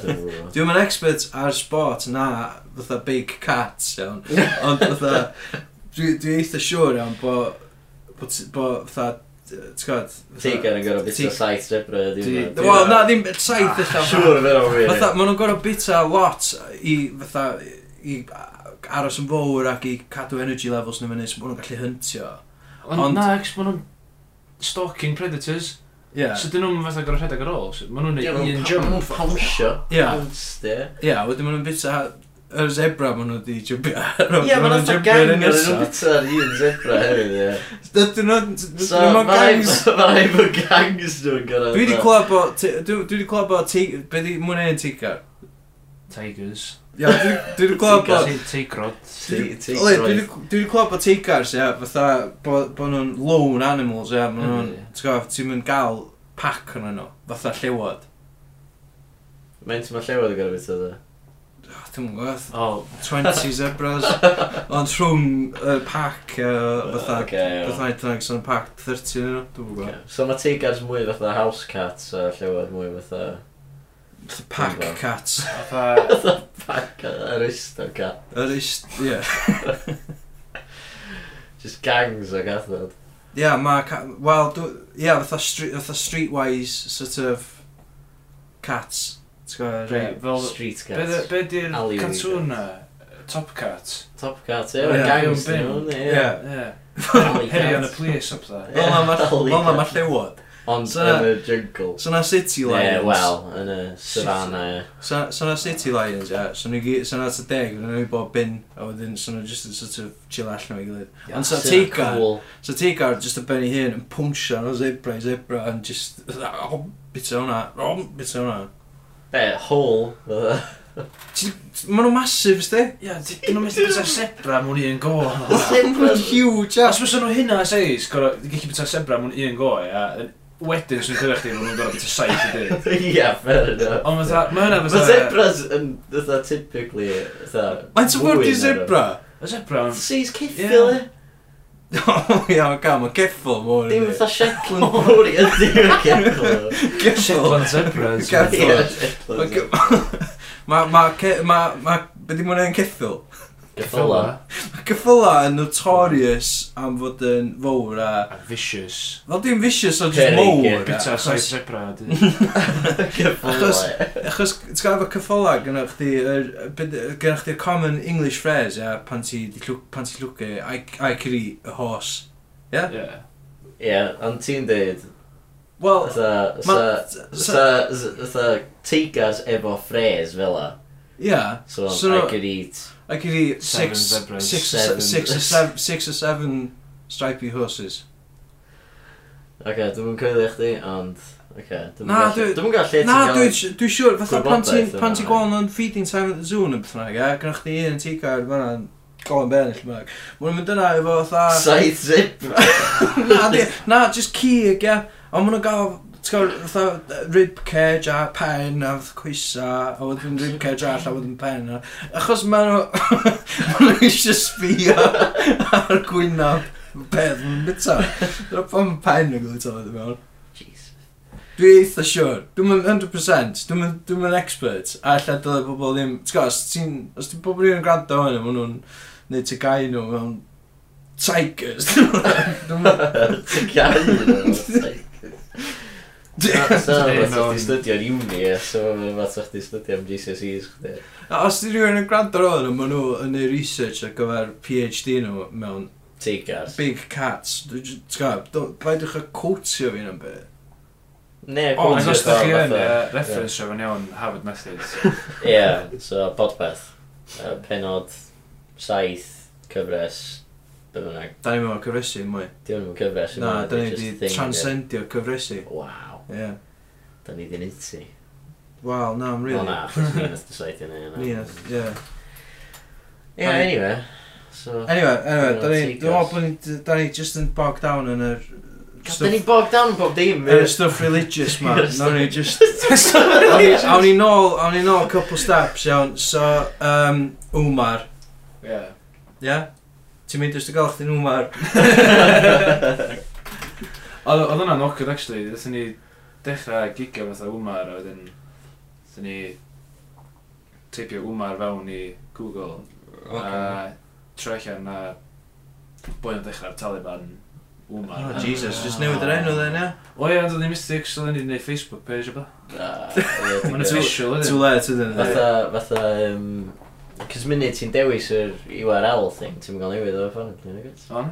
S1: Dwi'n
S2: Dwi'n mynd expert ar sport na fatha big cats, iawn. Ond fatha, dwi, dwi eitha siŵr iawn bod, bod, bod fatha, ti'n gwybod?
S1: Teigar yn gorau bita
S2: Teigar-
S1: saith zebra, dwi'n
S3: Di-
S1: meddwl.
S2: Wel, na, ddim saith
S1: Ah,
S2: eitha.
S1: Siwr fe o'n wir.
S2: Fatha, maen nhw'n gorau bita lot i fatha, i aros yn fawr ac i cadw energy levels nhw fyny, so maen nhw'n gallu hyntio. Ond-
S3: Ond na, ex, maen nhw'n stalking predators.
S2: Ie.
S3: So dyn nhw'n fatha gorau rhedeg ar ôl. So, maen nhw'n
S1: Ie,
S3: neud
S1: maen
S3: un
S1: nhw'n
S3: jump.
S1: pawnsio.
S2: Ie.
S1: Pawnsio.
S2: Ie, wedyn maen nhw'n bita y zebra maen nhw wedi jympio ar.
S1: Ie,
S2: ma'
S1: mae'n
S2: nhw'n
S1: atho
S2: jympio ar
S1: gang
S2: un
S1: yn nhw'n
S2: nesaf.
S1: bita ar un zebra hefyd, ie.
S2: Dydyn nhw'n...
S1: So,
S2: Dydyn nhw'n
S1: mae
S2: gangs.
S1: rai fy gangs nhw'n gorau.
S2: Dwi wedi clywed bod... ti- Dwi wedi clywed bod... tei- Be di mwyn ein tigar?
S3: Tigers.
S2: Ia, dwi dwi wedi clywed bod...
S3: Ti- Teigrod.
S2: Dwi dwi- dwi wedi clywed bod teigars, ia, fatha, bod bo nhw'n lone animals, ia, maen nhw'n,
S3: Ie.
S2: ti'n gwybod, ti'n mynd gael pack yn nhw, fatha llewod.
S1: Mae'n ti'n mae llewod yn gorau bita, dda.
S2: Dwi'n gwybod,
S1: O, oh,
S2: 20 zebras, ond rhwng y pack, uh, fatha,
S1: Ocê, iawn.
S2: fatha i dyna sy'n pack 30 yn yno, dwi'n gwybod.
S1: So mae tigars mwy fatha house cats a llewod mwy fatha
S2: Fatha pack
S1: Dwi'n gwbo.
S2: cats.
S3: Fatha,
S1: pack aristo cat.
S2: Yr is, ie.
S1: Just gangs o gathod.
S2: Ie, mae, ca- wel, dw- ie, fatha street, fatha streetwise, sort of, cats. Ti'n gwybod, rei.
S3: Reit. Fel-
S1: Street
S3: be
S1: cats.
S3: dy- be di'r
S1: Alley
S3: cantwn na? Top Cat?
S1: Top cats, ie.
S3: Oh,
S2: Ie,
S1: Yeah, gangs
S3: bin.
S1: nhw, ynddi, ie.
S2: Ie.
S3: Ie.
S1: Alley
S3: Heri yn y
S1: cats.
S3: police up there.
S1: Ie.
S2: Fel na ma-
S1: Holy
S2: fel na ma
S1: cats.
S2: llewod.
S1: Ond
S2: So-
S1: yn y jungle.
S2: So na city lions.
S1: Ie, wel, yn y savannah, ie.
S2: So, so na City Lions, ie. So na gyd, so na ta deg, so na bod bin, a wedyn, so na just yn sort of chill allan o'i gilydd. Ond so
S1: Sy'n
S2: teigar,
S1: cool.
S2: so teigar just yn benni hyn, yn pwnsio no zebra i zebra, yn just, oh, bita hwnna, oh, bita hwnna.
S1: Be, hole. fatha.
S2: Ma nhw massive, sti?
S3: Ie, dyn nhw'n methu bwyta sebra mewn un go.
S2: Zebra's huge,
S3: Os
S2: as.
S3: fysa nhw hynna seis, gorau, gallu bwyta sebra mewn un go, ia. Wedyn, os nhw'n cyrraedd chdi, maen nhw'n gorau bwyta saith i dyd.
S1: Ie, fair enough.
S3: Ond fatha, mae hynna
S1: Mae
S3: fatha...
S1: zebras yn, fatha, typically, fatha...
S2: Mae'n tyfwrdd i
S1: fwy na-
S2: zebra.
S3: Y sebra, yn-
S1: Seis ceffil,
S3: Ie.
S1: ie.
S2: O, iawn, gam, mae'n geffol mor.
S1: Dim fatha Shetland fawr i ydy o'r ceffil.
S3: Shetland zebras.
S1: Ie,
S2: Geffol.
S1: Shetland.
S2: Ma, ma, ce- ma, ma, be di mwyn yn ceffil?
S1: Ceffyla.
S2: Cyffyla yn notorious am fod yn fawr a...
S3: A vicious.
S2: Wel dim vicious o just
S1: Cerrig, ie.
S2: mowr.
S3: Bwyta saith sebra. a 'dyn-
S1: Ceffyla,
S2: Achos-
S1: ie.
S2: Achos, ti'n gael efo cyffola gynnwch chdi, yr- y byd- gynnwch chdi'r common English phrase, ia, pan ti 'di llw- pan ti'n lwgu, I, I carry a horse.
S3: Ie.
S1: Ie, ond ti'n deud,
S2: Wel,
S1: fatha,
S2: ma-
S1: fatha-
S2: so-
S1: fatha, fatha, teigars efo ffres fel la.
S2: ia,
S1: So,
S2: So-
S1: I could eat.
S2: I carry
S3: Seven
S2: six,
S3: zebras.
S2: six, or
S1: Seven.
S2: se- six, or seven, six or seven stripy horses.
S1: Oce, dwi'm yn coelio chdi, ond, oce, dwi'm yn
S2: Na,
S1: gallu,
S2: dwi-
S1: dwi'm yn gallu
S2: Na, dwi dwi siŵr, fatha pan ti'n
S1: Gwybodaeth yna,
S2: pan ti'n
S1: ie.
S2: gweld nhw'n feeding time at the zoo neu beth bynnag, ia, gynnwch chdi un yn tigar fan'na, Colin Bennell, mae'n mynd yna efo fatha...
S1: Saith zip!
S2: na, di, na, just cig, ia. Ond maen nhw'n gael, ti'n gael, fatha, rib cage a pen a fath coesa, a wedyn rib cage all a wedyn pen. A... Achos maen nhw, maen nhw eisiau sbio ar gwynaf peth maen nhw'n bita. Dyna pam mae pen yn gael ei tafod i mewn.
S1: Jeez.
S2: Dwi eitha siwr. Dwi'n mynd 100%. Dwi'n mynd, dwi'n mynd expert. A lle dyle bobl ddim... T'w gwybod, os ti'n... Os ti'n bobl rhywun yn gwrando hwn, maen nhw'n... Neu ty gau nhw mewn... Tigers. Dwi'n mynd...
S1: Ti'n gau nhw, saith. Na, so,
S3: Ie,
S1: fath
S3: no,
S1: o'ch
S3: ond-
S1: ti studio'r uni, ie, so fath o'ch ti studio am GCSEs chdi.
S2: A os di rhywun yn gwrando ar ôl, maen nhw yn ei research ar gyfer PhD nhw mewn
S1: Teigars.
S2: big cats. Dwi'n j- ti'n gwbod, dw- paidwch â cwtio fi yn byd.
S1: Ne,
S3: O, ond
S1: gwrs,
S3: os da chi yn
S1: fatha-
S3: yy, reference efo'n iawn Harvard Method.
S1: Ie, so podpeth. Yy, Penod saith cyfres, beth bynnag.
S2: Da ni'n meddwl cyfresu mwy.
S1: Di hwnnw cyfres
S2: Na,
S1: yma,
S2: da ni
S1: just
S2: wedi
S1: thing, ie.
S2: transcendio cyfresu.
S1: Waw,
S2: Ie.
S1: da ni di nitsi.
S2: Wel, na, am
S1: Really?
S2: rili.
S1: O na, achos ni nath decide yna.
S2: Ni, na, ie.
S1: Ie, anyway. So...
S2: Anyway, anyway,
S1: Ie,
S2: da ni,
S1: take
S2: dwi'n meddwl
S1: us.
S2: bod ni, da ni just yn bogged down yn yr
S1: God, da ni
S2: stuff,
S1: bogged down yn bob dim.
S2: yn y stuff religious ma.
S1: Yr stuff-
S2: Nawn ni just... Awn ni- awn ni nôl, awn ni nôl couple steps, iawn. So, um, Umar,
S3: Ie.
S2: Ie? Yeah? Ti'n mynd ysdi gael chdi'n wmar?
S3: Oedd oedd hwnna'n awkward actually, ddethon ni dechrau gigio fatha Wmar a wedyn ddethon ni teipio Wmar fewn i Google a troi allan na boi o'n dechrau'r Taliban Wmar.
S2: Oh, Jesus, just newid yr enw then, ie?
S3: O ie, ond oedd ni mystic, so oedd ni'n gwneud Facebook page o ba.
S1: Ah,
S3: Mae'n
S1: Fatha,
S3: official,
S2: Too
S3: ydyn.
S2: late, ydyn ni?
S1: fatha, um, Cys munud ti'n dewis yr URL thing, ti'n mynd gael newid o'r ffôn, dwi'n gwybod?
S3: On?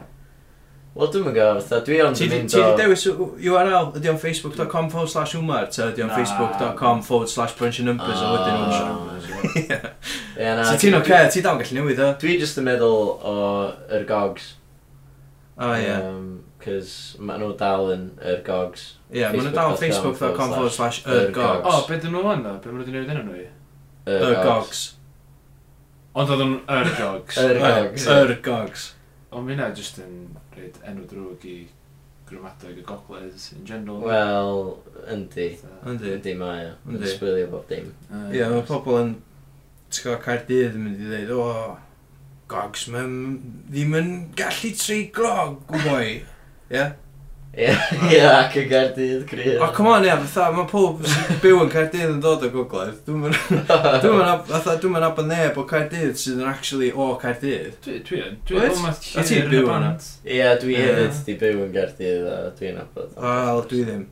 S1: Wel, dwi'n mynd gael, fatha, dwi ond
S2: Ti
S1: yn
S2: di
S1: mynd
S2: ti
S1: o...
S2: di dewis w- URL? Ydy o'n facebook.com forward slash wmar? Ta ydy o'n
S3: Na.
S2: facebook.com forward slash bunch of numbers a wedyn
S1: Ah.
S2: o'n
S1: Ie, na,
S2: So Ah, ti'n oce, ti dawn gallu newid o?
S1: Dwi just yn meddwl o yr gogs.
S2: O ie.
S1: Um, Cys maen nhw dal yn yr gogs.
S2: Ie, maen nhw dal facebook.com forward slash Oh, yrgog.
S3: O, beth dyn nhw yn o? Beth maen nhw wedi newid enw nhw i?
S2: Yrgogs.
S3: Ond oedd nhw'n Ergogs.
S1: Yr gogs.
S2: Yrgogs.
S3: Ond mae hynna jyst yn rhaid enw drwg i gramadeg y gogledd in general.
S1: Wel, yndi.
S3: Fatha,
S2: Yndi.
S1: Yndi mae o.
S2: Yndi.
S1: Yndi. Sbwylio bob dim.
S3: yy,
S2: Ie, mae pobl yn ti'n gwybod, Caerdydd yn mynd i ddeud, o, gogs, mae'n ddim yn gallu treiglo, gwboi. Ie?
S1: Ie, ie, ac y gardydd gryf.
S2: O, Oh, come on, ie, fatha, mae pob sy'n byw yn Caerdydd yn dod o Gogledd. Dwi'n mynd, dwi'n mynd, fatha, dwi'n mynd abod neb o Caerdydd sydd yn actually o Caerdydd.
S3: Dwi dwi yn. Dwi
S2: Wyt?
S3: yn math
S2: A ti'n byw yna?
S1: Ie, dwi
S2: Ie.
S1: hefyd di byw yn gardydd a dwi'n abod.
S2: O, wel, dwi ddim.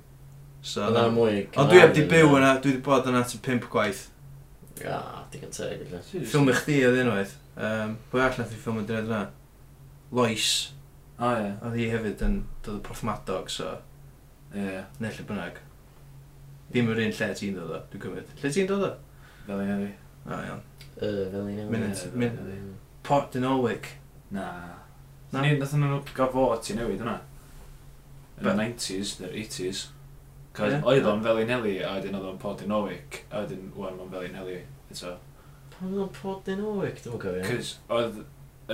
S2: So,
S1: Yna mwy.
S2: Ond dwi heb di byw yna, dwi di bod yna ti pimp gwaith.
S1: A, digon teg. illa.
S2: Ffilm i chdi oedd unwaith. Um, Pwy all nath i ffilm yn dynod yna? Lois.
S3: O ie.
S2: Oedd hi hefyd yn dod o Porthmadog, so
S3: Ie.
S2: neu lle bynnag. Ddim yr un lle ti'n dod o, dwi'n cymryd. Lle ti'n dod o?
S3: Fel i hefyd.
S2: O, iawn.
S1: Yy, fel un
S2: Minutes,
S3: Ie,
S2: min-
S3: fel i-
S2: Port yn Olwick.
S3: Na.
S2: Na.
S3: Na. Ni, nath nhw gael fo ti newid yna. Yn
S2: Be?
S3: y 90s, neu'r 80s. Cos
S2: Ie.
S3: oedd o'n fel i Nelly, a wedyn oedd o'n pod i Norwick, a wedyn wan o'n fel i Nelly. Eto.
S1: Pan oedd o'n pod yn owic, dwi'n cofio.
S3: Cos oedd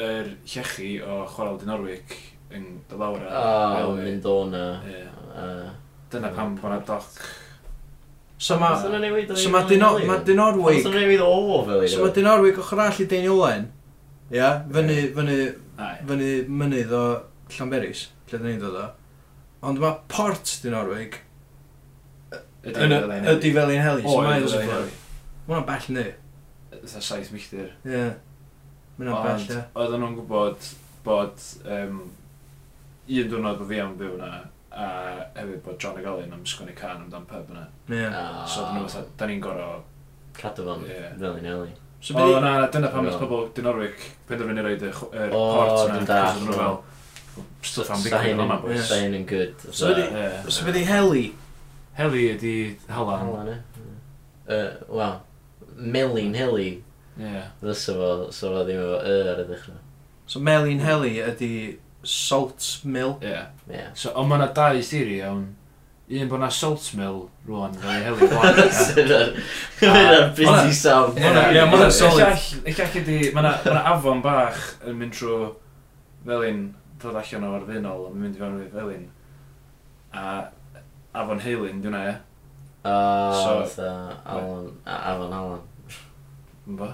S3: yr llechi o chwarael di Norwick yn dod lawr
S1: A, o'n mynd o na.
S3: Ie.
S1: Yy.
S3: Dyna pam bod na doc.
S2: So ma...
S1: Oes yna newid o
S2: So
S1: un
S2: ma
S1: o'n
S2: Dino-
S1: Elin?
S2: ma Dinorwig-
S1: Oes yna newid o fel un
S2: So ma
S1: o'n-
S2: dyn Orwig ochr all i Daniel Owen. Ia, fyny, fyny,
S3: Ai.
S2: fyny mynydd o Llanberis, lle dyn ni'n dod o. Ond mae port dyn Orwig
S3: Ydy
S2: yn y-
S3: fel i
S2: ydi
S3: Nelly.
S2: fel un heli. So
S3: Oedd
S2: mae'n
S3: fel i
S2: dod o.
S3: Nelly.
S2: Mae'n bell ni.
S3: Ydy 7 milltir.
S2: Ie. Mae'n bell, ie.
S3: Ond oedden nhw'n gwybod bod um, un diwrnod bod fi am byw yna a hefyd bod John Agalyn am sgwennu can amdan pub yna.
S2: Ie.
S1: Ah,
S3: So oedden nhw fatha, da ni'n gorau...
S1: cadw fo'n
S3: Ie.
S1: fel un Elin.
S2: So
S3: O,
S2: byddi...
S3: na, na, dyna pam nes
S1: Iawn.
S3: pobl Dinorwic penderfynu roed y ch- yr
S1: O,
S3: port yna.
S1: dwi'n dallt,
S3: Dwi'n dall. Oedden nhw fel, stwff am
S1: Sa hyn
S3: ddigwydd yma,
S1: yn-
S3: boys.
S1: Sa hyn yn good.
S2: So ydi-
S3: Ie.
S2: So byddi heli.
S3: Heli ydi halan.
S1: Halan, e? eh? Wel, melin heli
S3: Ie.
S1: fysa fo, so fo ddim efo y ar y dechrau.
S2: So melin heli ydi salt mill.
S3: Ie.
S1: Ie.
S3: So, ond ma'na dau theori iawn. Un bod na salt mill rwan fel i heli blan. ie.
S1: Sy'n ar- mae'n ar busy sound.
S2: Ma' hwnna- ie, ma' hwnna'n solid.
S3: Y llall ydi, mae yna afon bach yn mynd trwy felin, dod allan o'r funol, yn mynd i fewn i felin. A afon heilin, dwi'n e,
S1: O,
S3: So-
S1: fatha, Alan, a- Afon Alan.
S3: yn bo.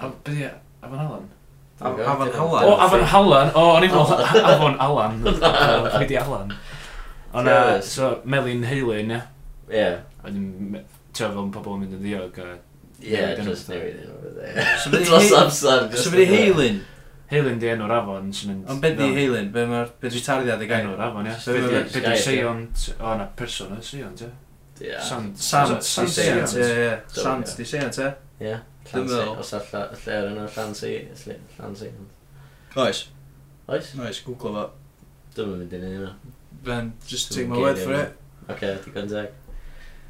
S3: A- Be di afon Alan?
S2: Af-
S1: Dwi'n
S2: Afon
S1: gwybod.
S2: Alan.
S3: O, afon Alan! O, o'n i'n meddwl afon Alan. Pwy di Alan? O na,
S1: Terrorist.
S3: so melin heilin, ie.
S1: Ie.
S3: A dwi'n teo fel ma' pobl yn mynd yn ddiog. a-
S1: Ie,
S3: Newid yn
S1: just
S3: y-
S1: newid yn o'r
S2: So
S1: bydde.
S2: byddi
S1: Dros
S2: hei-
S1: amser.
S2: So byddi heilin.
S3: Heilin di enw'r afon sy'n mynd...
S2: Ond byddi
S3: fewn.
S2: heilin, be mae'r... Byddi tarddiad y gair.
S3: Enw'r afon, ie.
S2: So
S3: Be
S2: ma'n-
S3: di- Be di
S1: Gair, ie.
S3: seiont... O, na, person o seiont, ie. Sand.
S2: Sant,
S3: Sant
S2: di seant, ie, ie.
S1: So,
S2: Sant,
S1: ie.
S2: di seant, ie.
S1: Ie.
S2: Dwi'n
S1: Llansi.
S2: meddwl.
S1: Os a lla- lle yna Llansi. Lli- Llansi.
S2: Oes.
S1: Oes?
S2: Oes, googlo fo.
S1: Dwi'n mynd i ni hynna.
S2: Ben, just
S1: Dwi'n
S2: take my word
S1: geiriau
S2: for it.
S1: Oce, digon teg.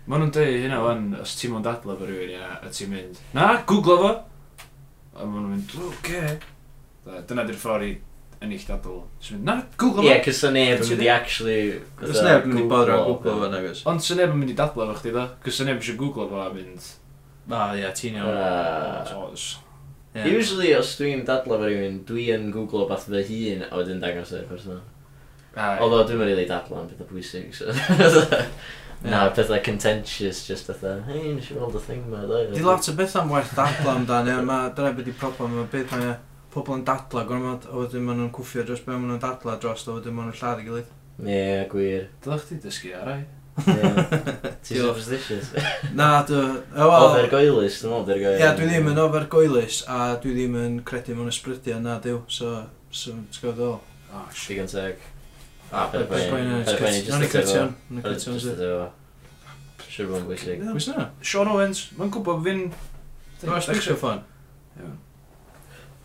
S3: Ma' nhw'n dweud hynna fan, os ti'n mynd adlo fo rhywun ia, a ti'n mynd, na, googlo fo! A ma' nhw'n mynd, o, oce. Da, Dyna di'r ffordd i ennill dadl. Ti'n mynd, na, googlo
S1: Ie,
S3: fo!
S1: cos o'n neb yn mynd i actually...
S2: Cos neb yn mynd i bodro a googlo
S1: Google.
S2: fo, nagos.
S3: Ond sy'n neb yn mynd i dadlo fo chdi do, cos sy'n neb eisiau googlo fo a mynd,
S2: Ah, ie, ti'n iawn.
S1: Yy,
S3: "O, s-
S2: Ie.
S1: Ah. Usually os dwi'n dadlo fo rhywun, dwi yn googlo beth fy hun a wedyn dangos i'r person.
S3: a-
S1: Although dwi'n rili dadlo am pethau pwysig, so... Na,
S2: Ie.
S1: pethau contentious, just pethau, hei, nes i weld y thing ma, dda.
S2: Di lot o beth am werth dadla amdano, ie, ma- dyna beth di problem, mae beth mae pobl yn dadla gormod, a wedyn maen nhw'n cwffio dros be maen nhw'n dadla dros, a wedyn maen nhw'n lladd i gilydd.
S1: Ie, gwir.
S3: Dylech chdi dysgu ar ai?
S1: Ie. Ti
S2: Diolch.
S1: superstitious?
S2: Na, dwi... o, wel-
S1: Ofer goelus, dwi'n meddwl, dy'r
S2: Ie,
S1: goelus.
S2: yeah, dwi ddim yn ofer goelus a dwi ddim yn credu mewn ysbrydion na diw, so, so, ti'n gwybod ddol?
S3: O, shit.
S1: Digon teg.
S2: A,
S1: Ah, Ped Boyn, Ped Boyn,
S2: Nawn ni
S1: just
S2: credu
S1: efo.
S2: o'n, nawn ni
S1: Just
S2: credu o'n sydd.
S1: efo. Siwr bod yn bwysig.
S3: Ie,
S2: Gwys na?
S3: Sean Owens, mae'n gwybod fi'n...
S2: Dwi'n sbwysio ffôn.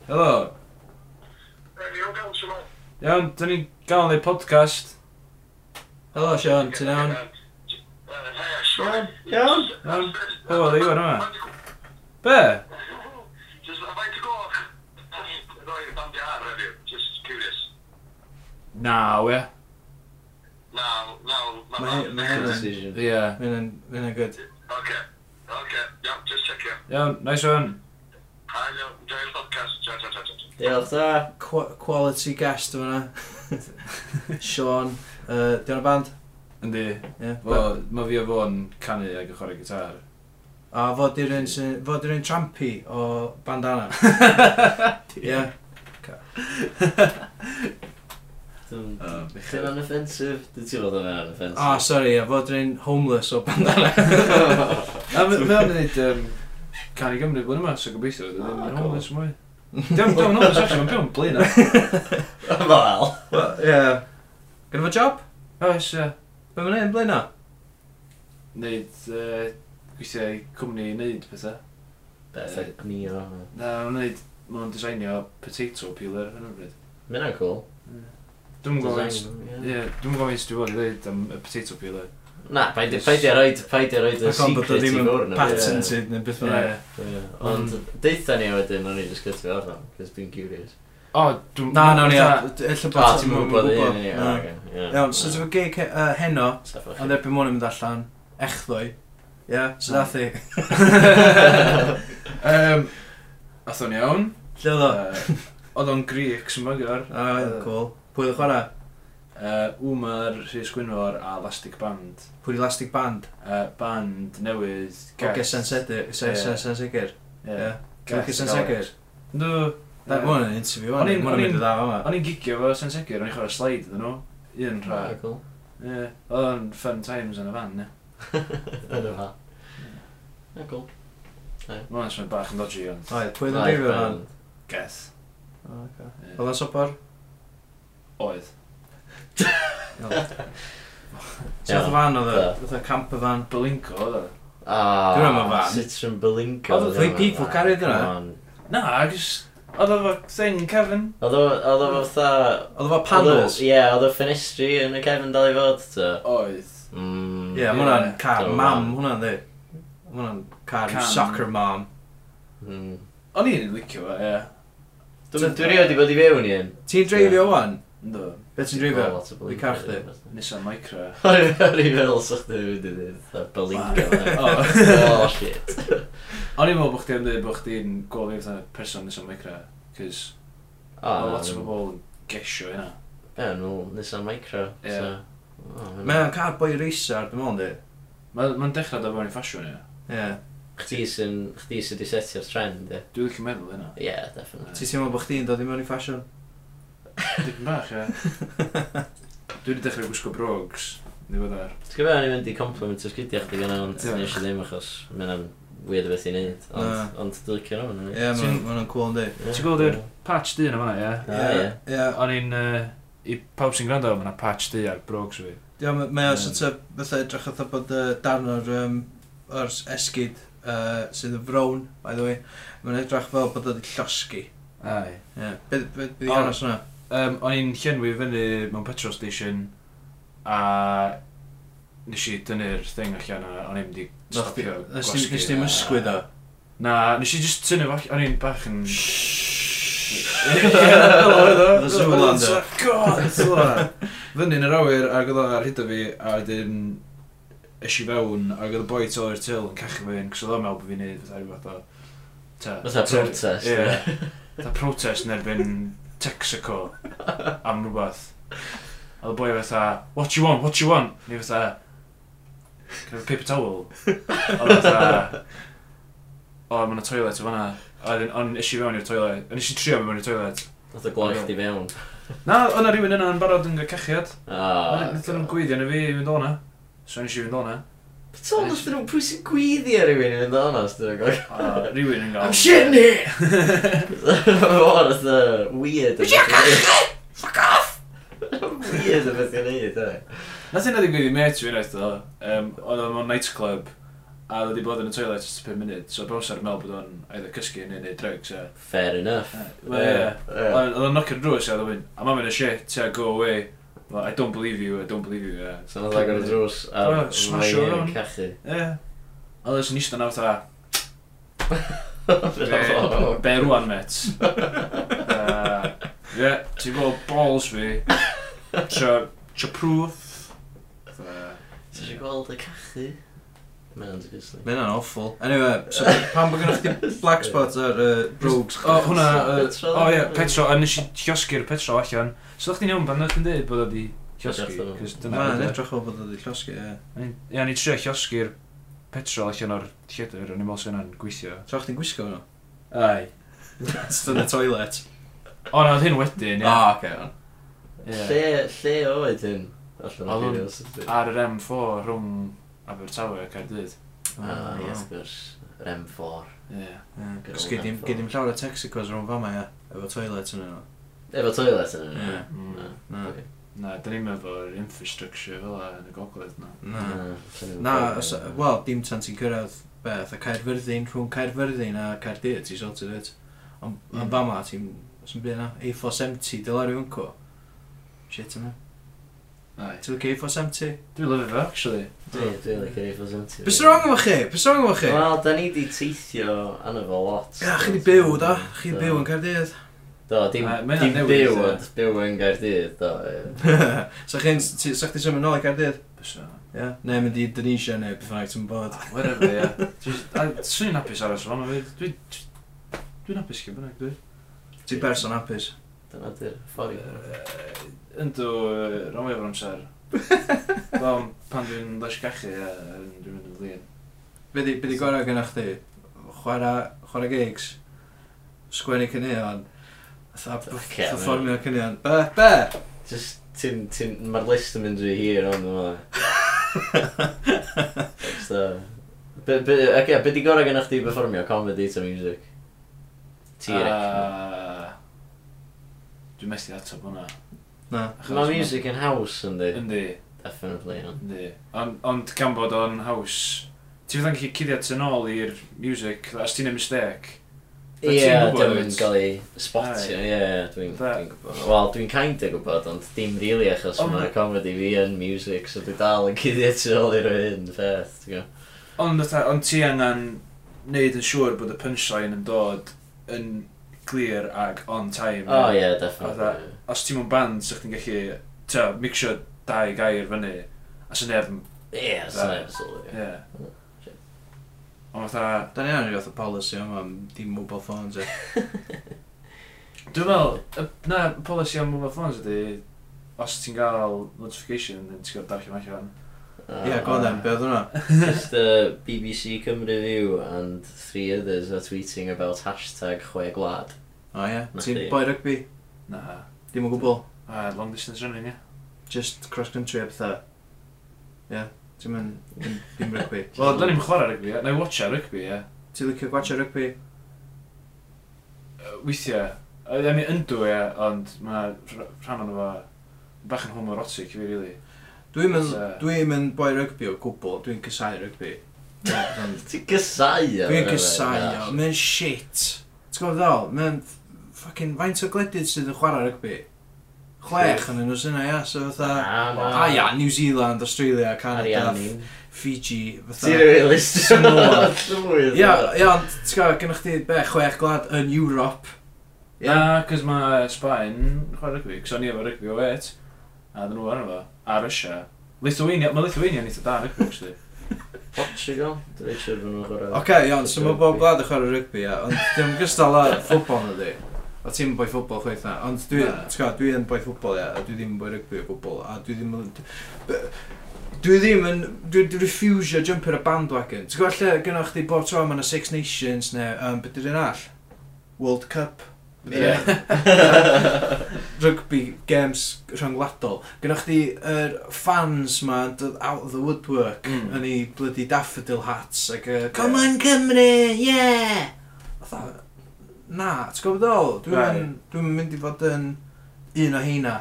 S3: Helo. Iawn, dyn ni'n gael ei podcast.
S2: Helo, Sean, ti'n iawn?
S3: Iawn, iawn. Iawn, hwyl oedd i wan yma. Be? Naw, ie.
S1: Decision.
S3: Ie.
S2: Mae'n yn gyd.
S3: Iawn, nice one.
S1: Diolch da.
S2: Qu- Quality guest yma na. Sean, uh, di o'n y band?
S3: Yndi.
S2: Ie.
S3: Fo, mae fi a fo'n canu ag y chwarae gitar.
S2: A fo di'r un sy'n... Fo di'r un trampi o bandana. Ie.
S1: Dwi'n...
S3: Um,
S1: Dwi'n unoffensive. Dwi'n ti'n fod yn unoffensive.
S2: A, sori, a fo di'r un homeless o bandana.
S3: A mae o'n mynd um, can i Gymru blwyddyn yma, so gobeithio, dwi'n
S1: Ah,
S3: mynd
S1: cool.
S3: homeless mwy. Dwi'n dwi'n homeless actually, mae'n byw yn blin a.
S1: Fel.
S2: Wel, Ie. Gyda fo job?
S3: Oes, ie.
S2: Be ma'n neud, blaen o?
S3: Neud, yy, gweithio i cwmni i neud pethau.
S1: Beth ag ni o.
S3: Na, mae'n neud, mae'n designio potato peeler yn ymryd.
S1: Mae'n yna'n cool.
S3: Dwi'n gwybod faint,
S1: Design, ie.
S3: ie, dwi'n gwybod faint dwi'n bod i ddeud am y potato peeler.
S1: Na, paid paid i roed, paid i roed y
S2: Ac ond bod o
S1: secret i
S2: ddim
S1: fwrn.
S2: yn patented Mm. neu beth ma'n neud.
S3: Ie.
S1: Ond deitha ni wedyn, o'n i just gyda fi arno, cos dwi'n curious.
S3: O, dwi'n...
S2: Na, na, ni.
S3: fatha-
S2: Ella
S1: O,
S2: bod
S1: ti'n
S2: ti'n
S1: mwyn bod i,
S2: gwybod.
S1: ni, o,
S2: Na.
S1: oce, ie.
S2: Iawn, so ti'n
S1: Ie.
S2: fawr gig he- yy, heno,
S1: Saffa chi.
S2: ond erbyn mwyn yn mynd allan, echddoe. Ie, so
S3: Na.
S2: dath i. e-
S3: Yym, Athon ni iawn.
S2: Lle oedd o?
S3: Yy, Oedd o'n Greek sy'n mygar.
S2: A, ie, cool. Pwy oedd y chwarae?
S3: Uh, Wma'r Rhys Gwynfor a Elastic Band.
S2: Pwy elastic band?
S3: Uh, band newydd...
S2: O gysen sicr. Ie. Dwi'n gysen sicr.
S3: No.
S2: Da, ma hwn yn interview, o'n
S3: O'n
S2: i'n
S3: i'n-
S2: mynd
S3: o'n
S2: i
S3: i'n-
S2: dda fa
S3: O'n i'n gigio fo sen sicr, o'n i'n chwarae slide ydyn nhw. Un rha.
S1: Ah, cool.
S3: Ie. Oedd o'n fun times yn y fan, ne?
S1: Yn y fa. Ie, cool.
S3: Mae'n swnio bach yn dodgy ond.
S2: Oedd, pwy oedd yn
S1: Live
S2: brifio fan?
S1: band.
S3: Geth. Ie.
S2: Oedd o'n sopor?
S3: Oedd.
S2: Sef oedd
S1: Iawn.
S2: y fan oedd o?
S1: Ie.
S2: Oedd y camper van?
S3: Blinko, oedd o.
S1: Ah,
S2: Dwi'n meddwl fan.
S1: Citroen Belinco.
S2: Oedd o three people carried hwnna?
S3: Na, agos... Oedd o'n thing, Kevin.
S1: Oedd o oedd o fatha
S2: Oedd o fo panels?
S1: Oedd o- Ie, oedd o ffenestri yn y cefn dal i fod, so...
S3: Oedd.
S1: Mm.
S2: Ie, ma' hwnna'n
S3: Ie.
S2: car
S1: Dyma
S2: mam,
S1: mam.
S2: hwnna'n ddi. Ma' hwnna'n car
S3: Cam.
S2: soccer mam.
S1: Mm.
S3: O'n i'n licio fo, ie.
S1: Dwi'n dwi rioed i bod i fewn i un.
S2: Ti'n dreifio wan?
S3: Ynddo.
S2: Be ti'n dreifio? i car chdi.
S3: Nissan Micra.
S1: O'n i fel sa'ch dwi'n mynd i ddweud, fatha
S3: O.
S1: Belingo. Oh, shit.
S3: O'n i'n meddwl bod chdi am dweud bod chdi'n gweld fi fatha person nes o'n micra, cys
S1: O,
S3: oh, lot o bobl yn gesio yna.
S1: Ah, Ie, nhw, Nissan Micro,
S3: Ie.
S1: so... Oh,
S2: Mae o'n car boi racer, dim ond ddi.
S3: Mae'n ma dechrau da fewn i ffasiwn ia.
S2: Ie.
S1: Chdi sy'n... Chdi sy'n di setio'r trend, ie.
S3: Dwi'n licio meddwl yna.
S1: Ie, definitely.
S2: Ti'n teimlo bod chdi'n dod i mewn i ffasiwn?
S3: Dipyn bach ia. Dwi wedi dechrau gwisgo brogs. Ni fod ar.
S1: Ti'n gwybod, o'n i'n mynd i compliment o'r gyda chdi gynna, ond
S3: Ie.
S1: nes i ddim achos mae'n am weird o beth i wneud.
S2: Na.
S1: Ond- Ond dwi'n licio nhw,
S2: Ie, ma'
S3: Ti'n-
S2: ma' hwnna'n cool yn ddi.
S3: Ti'n gweld yr patch di yna fanna ia?
S1: Ie. Ah, Ie.
S2: Ie.
S3: O'n i'n... yy, I pawb sy'n gwrando, mae'na patch di ar brogs fi.
S2: Ie, ma- mae o
S3: Ie.
S2: sort of, fatha edrych oedd bod y darn o'r, yym, o'r s- esgid yy, sydd yn frown, by the way. Mae'n edrych fel bod o wedi llosgi.
S3: Ai.
S2: Ie. Be- be- be' 'di
S3: O.
S2: hanes hwnna?
S3: Um, o'n i'n llenwi fyny mewn petrol station a nes i dynnu'r thing allan a o'n i'n mynd i
S2: Nath-
S3: stopio
S2: nes di- nes di'm
S3: a-
S2: ysgwyd o?
S3: Na, nes i just tynnu fo allan, o'n i'n bach yn...
S2: The Zoolander.
S3: Oh God, sylwa. Fyny yn yr awyr ac oedd o ar hyd o fi a wedyn es i fewn ac oedd y boi tu ôl i'r til yn cachu fi'n cos oedd o'n meddwl bod fi'n neud fatha rhywbeth o... ta-
S1: Fatha
S3: ta-
S1: protest,
S3: Ie.
S1: ie.
S3: Ta protest yn erbyn Texaco am rhywbeth. A oedd y boi fatha, what you want, what you want? Ni fatha, can I have a paper towel? A oedd o fatha, o, mae'n y toilet o fanna. A wedyn, o'n eisiau fewn i'r toilet. O'n eisiau trio mewn i'r toilet.
S1: Nath o gloi chdi fewn.
S3: Na, o'na rhywun yna yn barod yn gael cachiad.
S1: Ah,
S3: Nath nhw'n gwydio na fi i fynd o'na. So nes i fynd o'na.
S1: But all nath nhw'n pwy sy'n gwyddi ar rywun i fynd honest yn o'r
S3: A rhywun yn gael...
S1: I'm shitting here! Mor oedd y weird Wyt ti'n cachu? Fuck off! Weird o beth i'n neud, e.
S3: Nath hynna ddigwydd i met fi unwaith o. Um, oedd o'n mewn nightclub. A oedd wedi bod yn y toilet ys 5 munud. So bawsar yn meddwl bod o'n either cysgu neu neud drugs. ie.
S1: Fair enough.
S3: Wel, ie. Oedd o'n knock ar drws a oedd o'n mynd, I'm having a shit, yeah, go away. Well, I don't believe you, I don't believe you, yeah.
S1: So nath agor y drws a
S3: Oh, smash
S1: mae
S3: o
S1: hi'n
S3: fewn.
S1: cachu.
S3: Yeah. Oedd o'n eistedd na fatha,
S1: Bravo.
S3: "Be- be rwan met. Uh, Ie, ti'n gweld balls fi. Tra, tra proof. Fatha,
S1: Ti eisiau gweld y cachu? Mae'n disgusting.
S2: Mae hynna'n awful. Anyway, so pan bod gennych chdi black spots ar yy, brogues
S3: O, hwnna, yy,
S1: Petrol.
S3: o ie, petrol, a nes i llosgu'r petrol allan. So o'ch chi'n iawn pan o'ch chi'n dweud bod o di llosgu,
S1: Llosgu.
S3: cos dyna
S2: Mae'n
S3: bod o.
S2: edrych fel bod o wedi llosgi, ie.
S3: Ie, o'n i trio llosgu'r petrol allan o'r lledr, o'n i'n meddwl sy'n hynna'n gweithio.
S2: So chdi'n gwisgo nhw?
S3: Ai.
S2: Just yn y toilet.
S3: O, na, oedd hyn wedyn, ie.
S2: Ah, oce. iawn.
S3: Ie.
S1: Lle, lle oedd hyn? Allan o'r
S3: Oedd o'n-
S1: Imperial City.
S3: Ar yr M4 rhwng Abertawe a Caerdydd.
S2: Oh,
S1: Ah, ie, wrth gwrs. Yr M4.
S3: Ie.
S2: Ie. Cos gyd i'n llawer o Texicos rhwng fama, ia. Efo toilet yn yno.
S1: Efo toilet yn yna.
S2: Ie.
S3: Mm.
S2: Na.
S1: Ie.
S3: Na, da ni'n efo'r infrastructure fel yna yn y gogledd na.
S2: Na. Na, os- wel, dim tan ti'n cyrraedd beth, a Caerfyrddin, rhwng Caerfyrddin a Caerdydd, ti'n sorted it. Ond
S1: Mm.
S2: mm. fama, ti'n... Os yn byd na, A470, dylar i wynco. Shit yna.
S3: Ai.
S2: Ti'n lycio A470?
S3: Dwi'n lyfio fo, actually.
S1: Dwi, dwi like yr Eiffel Center.
S2: Bys wrong efo chi? Bys wrong efo chi?
S1: Wel, da ni di teithio anna fo lot.
S2: Ia, chi di byw, da. Chi di byw yn Caerdydd.
S1: Do, dim,
S3: Ma- ma' hynna'n
S1: dim
S3: newid,
S1: byw,
S3: ie.
S1: ond byw yn Gaerdydd, do. ie.
S2: Sa chi'n... ti- Sa chdi symud nôl i Caerdydd?
S3: Bysa.
S2: Ie. Neu mynd i Indonesia neu beth bynnag ti'n bod.
S3: Ah, Whatever, ie. Just- a Swn i'n hapus aros fan o fi. Dwi- Dwi'n hapus gen bynnag, dwi.
S2: Ti'n berson hapus.
S1: Dyna di'r ffordd.
S3: Yy, Yndw, yy, rhan fwyaf o'r amser. Wel, pan dwi'n ddysgachu, ie, yy, dwi'n mynd yn flin.
S2: Be di, be di gorau gynnach chdi? Chwara, chwara gigs? Sgwennu cynnion? Tha
S1: Fucking hell.
S2: performio cynnion? Be? Be?
S1: Just, ti'n, ti'n, mae'r list yn mynd rhy hir ond yma. So, be, be, okay, be di gorau gynnwch chi performio comedy to music? Ti'n
S3: Ah,
S1: uh,
S3: A- Dwi'n methu atab hwnna.
S2: Na.
S3: Achos
S1: Mae music yn haws yn di,
S3: Yndi,
S1: definitely. Ond.
S3: yndi. Ond on, gan bod o'n haws... Ti fydda'n gallu cuddio tu nôl i'r music, os ti'n ei mistake. But
S1: Ie,
S3: ti'n gwbod
S1: dwi'n
S3: it's-
S1: gael ei spotio, ie, ie, dwi'n
S3: Fatha- Oh
S1: dwi'n gwybod. Wel, dwi'n kind o gwybod, ond dim rili achos
S3: Ond-
S1: mae'r comedy fi yn music, so dwi dal yn cuddio tu ôl i'r hyn, peth, ti'n gwybod.
S3: Ond fatha- ond ti angen neud yn siŵr bod y punchline yn dod yn clear ag on time.
S1: O
S3: ie.
S1: ie,
S3: Fatha-
S1: definitely.
S3: Os ti'n mewn band, sa'ch ti'n gallu, ta, mixio dau gair fyny, a sy'n neb yn,
S1: Ie, sy'n ei sylwi.
S3: ie. Ond fatha,
S2: Da ni angen rhywbeth o policy yma am dim mobile phones
S1: Ah.
S2: e.
S3: Dwi'n meddwl, y- na, y policy am mobile phones ydy, os ti'n cael notification, then ti'n cael darllen allan.
S2: Ie, go then, be oedd hwnna?
S1: Just uh, BBC Cymru View and three others are tweeting about hashtag chwe gwlad.
S2: O ie.
S1: Na
S2: Ti'n
S1: chdi.
S2: boi rygbi?
S3: Na,
S2: Dim o gwbl.
S3: a long distance running, ie.
S2: Just cross country a pethau. Ie. Ti'n mynd... dim- Dim rygbi.
S3: Wel, da ni'n chwarae rygbi, ie. Na i watcha rygbi, ie.
S2: Ti'n licio gwachio rygbi?
S3: Yy, Weithiau, I mean, yndw, ie, ond mae rh- rhan o'n efo bach yn homoerotic i fi, really.
S2: Dwi'n mynd...
S3: Ie.
S2: Dwi'n mynd boi rygbi o gwbl. Dwi'n cysau rygbi. Ond
S1: Ti'n gysau o?
S2: Dwi'n gysau o, mae'n shit. Ti'n gwybod ddol, mae'n ffucking faint o gledydd sydd yn chwarae rygbi. Chwech yn y nhw syna, ia, so fatha... A ia, New Zealand, Australia, Canada,
S1: Arianni.
S2: Fiji,
S1: Ti'n
S2: fatha...
S1: realist?
S2: Samoa.
S1: Llwyr.
S2: Ia, ia, ond ti'n gwybod, gennych chi be, chwech gwlad yn Europe. Ie.
S3: Na, cos mae Sbaen yn chwarae rygbi, cos o'n i efo rygbi o wet, a dyn nhw arno fo, a Russia. Lithuania, mae Lithuania'n eitha da rygbi, actually.
S1: Portugal? Dwi'n rhaid siwr fod nhw'n chwarae.
S2: Oce, iawn, so mae bob gwlad yn chwarae rygbi, ia, ond ddim gystal â ffwbol na di. O ti'n boi ffwbol chweith na, ond dwi,
S3: Na.
S2: ti'n gwybod, dwi yn boi ffwbol, ia, a dwi ddim yn boi rygbi o gwbl, a dwi ddim yn... b- Dwi ddim yn... Dwi dwi refusio jump ar y bandwagon. Ti'n gwybod lle gynnwch chdi bob tro mae yna Six Nations neu... Um, Beth ydyn all? World Cup.
S1: Ie.
S2: Rugby games rhyngwladol. Gynnwch chdi yr fans ma yn dod out of the woodwork
S3: Mm.
S2: yn ei bloody daffodil hats ac... Uh, Come on Cymru, yeah! Fatha, Na, ti'n gwybod ddol? Dwi'n
S3: Right.
S2: dwi mynd i fod yn un o heina.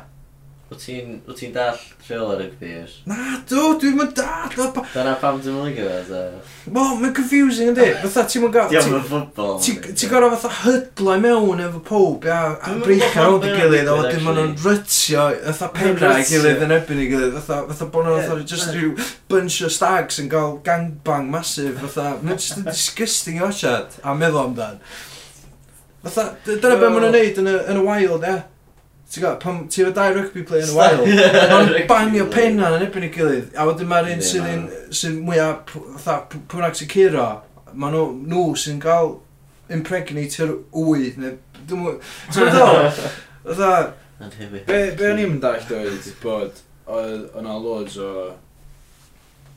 S1: Wyt ti'n wyt ti'n dall rheol ar y gwir?
S2: Na, dw, dwi'n mynd dad, o, pa-
S1: Dyna pam dwi'n mynd i fod.
S2: Wel, mae'n confusing yndi, fatha ti'n mynd gael...
S1: Diolch yn ffwbol.
S2: Ti'n ti gorau fatha hydlo i mewn efo pob, ia, a
S1: Dwi'm yn
S2: breichio
S1: gwbod
S2: rownd i
S1: pam
S2: gilydd, a
S1: mae o'n
S2: wedyn maen nhw'n rytio, fatha
S3: Maen nhw'n
S2: penna i
S3: rytio.
S2: gilydd yn ebyn i gilydd, fatha, fatha bod nhw'n
S3: Ie,
S2: fatha just
S3: ie.
S2: rhyw bunch o stags yn cael gangbang masif, fatha, mae'n just yn disgusting i oesiad, a meddwl amdan. Fatha, d- dyna beth maen nhw'n neud yn y, yn y wild, ia. Ti'n gwybod, pam ti'n fod dau rugby player yn y wild,
S1: Ie,
S2: Ma'n
S1: rugby
S2: bangio
S1: player.
S2: penna yn ebyn i gilydd, a wedyn mae'r un
S1: Yndi,
S2: sydd yn,
S1: na.
S2: sy'n mwyaf, pw- fatha, pw- pwnnag sy'n curo, maen nhw, nhw sy'n cael impregnatio'r wyd, neu, dwi'n mwyn, ti'n gwybod ddol? Fatha,
S1: Yn hybu.
S3: Be, be o'n i'n dall oedd bod oedd- oedd yna loads o...